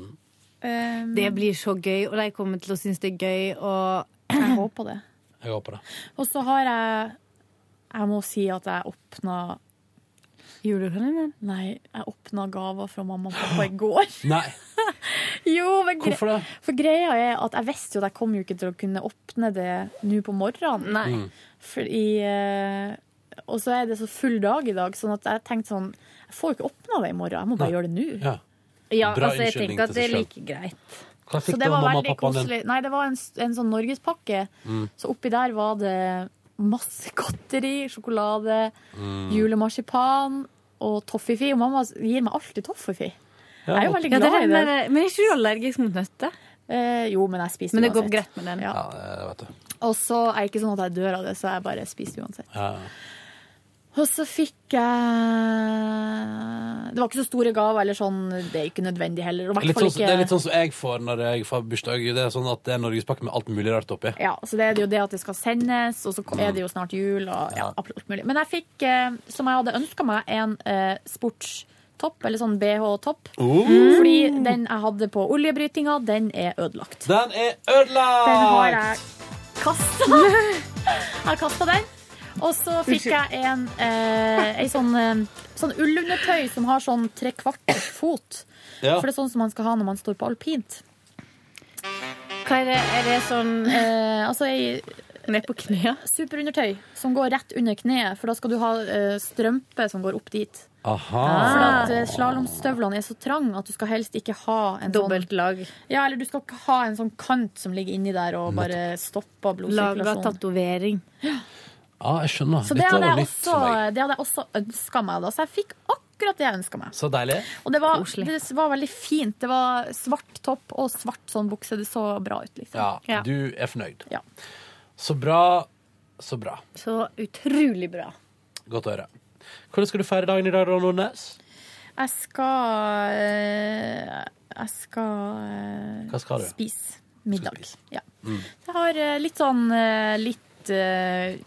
S3: Um,
S11: Det blir så gøy, og de kommer til å synes det er gøy. Og
S3: jeg håper det.
S2: Jeg håper det.
S3: Og så har jeg Jeg må si at jeg åpna
S11: Julekalenderen?
S3: Nei, jeg åpna gaver fra mamma og pappa i går.
S2: Nei.
S3: Jo, men gre
S2: Hvorfor det?
S3: For greia er at jeg visste jo at jeg kom jo ikke til å kunne åpne det nå på morgenen.
S11: Nei. Mm.
S3: Fordi eh, Og så er det så full dag i dag, sånn at jeg tenkte sånn Jeg får jo ikke åpna det i morgen, jeg må bare gjøre det nå.
S2: Ja.
S11: Ja,
S3: Bra
S11: altså, jeg
S3: unnskyldning
S11: tenker at det
S3: til
S11: er
S3: seg
S11: like greit.
S2: Hva
S3: Så
S2: fikk
S3: det
S2: du av
S3: var
S2: mamma og
S3: veldig
S2: pappaen din?
S3: koselig. Nei, det var en, s- en sånn norgespakke.
S2: Mm.
S3: Så oppi der var det masse *laughs* godteri, sjokolade,
S2: Mm.
S3: julemarsipan og toffifi. Og mamma gir meg alltid toffifi.
S11: Ja,
S3: jeg er jo veldig
S11: ja, det
S3: glad
S11: er
S3: i det.
S11: den der- men er ikke du allergisk mot nøtter?
S3: Eh, jo, men jeg spiser
S11: Men det går
S3: uansett.
S11: greit med den.
S3: Ja.
S2: Ja, det vet du.
S3: Og så er det ikke sånn at jeg dør av det, så jeg bare spiser uansett.
S2: Ja.
S3: Og så fikk jeg Det var ikke så store gaver, eller sånn. Det er ikke nødvendig heller. Og i hvert
S2: Litt
S3: fall
S2: sånn,
S3: ikke...
S2: det er litt sånn som jeg får når jeg får bursdag. Det er sånn at det er norgespakke med alt mulig rart oppi.
S3: Ja, så det er det jo det at det skal sendes, og så er det jo snart jul og ja, alt mulig. Men jeg fikk, eh, som jeg hadde ønska meg, en eh, sportstopp, eller sånn BH-topp.
S2: Oh.
S3: Fordi den jeg hadde på oljebrytinga, den er ødelagt.
S2: Den er ødelagt!
S3: Den har jeg kasta. *laughs* jeg kasta den. Og så fikk jeg en, eh, ei sånn, eh, sånn ullundertøy som har sånn trekvart fot.
S14: Ja.
S3: For det er sånn som man skal ha når man står på alpint.
S14: Hva er det? Er det sånn
S11: *laughs*
S3: eh, Altså ei
S14: Ned på kne?
S3: Superundertøy som går rett under kneet, for da skal du ha eh, strømpe som går opp dit.
S2: Aha.
S3: For at eh, slalåmstøvlene er så trang at du skal helst ikke ha en
S14: Dobbelt
S3: sånn
S14: lag.
S3: Ja, eller du skal ikke ha en sånn kant som ligger inni der og bare stopper
S14: Laga
S3: blodsirkulasjonen.
S14: tatovering.
S2: Ja, jeg skjønner.
S3: Så det
S2: Dette
S3: hadde
S2: var
S3: jeg
S2: nytt
S3: også,
S2: for meg.
S3: det hadde jeg også ønska meg, da. Så jeg fikk akkurat det jeg ønska meg.
S2: Så deilig.
S3: Og det var, det var veldig fint. Det var svart topp og svart sånn bukse. Det så bra ut, liksom.
S2: Ja,
S3: Ja.
S2: du er fornøyd.
S3: Ja.
S2: Så bra. Så bra.
S11: Så utrolig bra.
S2: Godt å høre. Hvordan skal du feire dagen i dag, Ron Nordnes?
S3: Jeg skal eh, Jeg skal, eh,
S2: Hva skal du?
S3: spise middag. Ja.
S2: Mm.
S3: Jeg har eh, litt sånn eh, litt eh,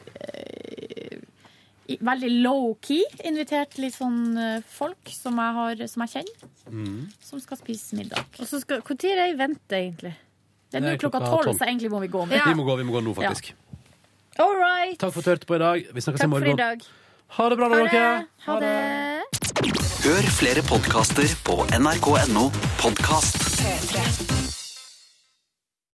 S3: i- Veldig low-key invitert litt sånn eh, folk som jeg, har, som jeg kjenner,
S2: Mm.
S3: som skal spise middag.
S11: Og så skal, Når er det jeg venter, egentlig?
S3: Det er nå klokka tolv, så egentlig må vi gå nå.
S2: Vi må gå, vi må gå nå,
S3: Ja.
S2: faktisk.
S11: All right.
S2: Takk for at du hørte på i dag. Vi snakkes i morgen. Ha det bra,
S1: Ha
S2: da,
S1: det.
S2: dere.
S3: Ha det.
S1: Hør flere podkaster på nrk.no podkast. 3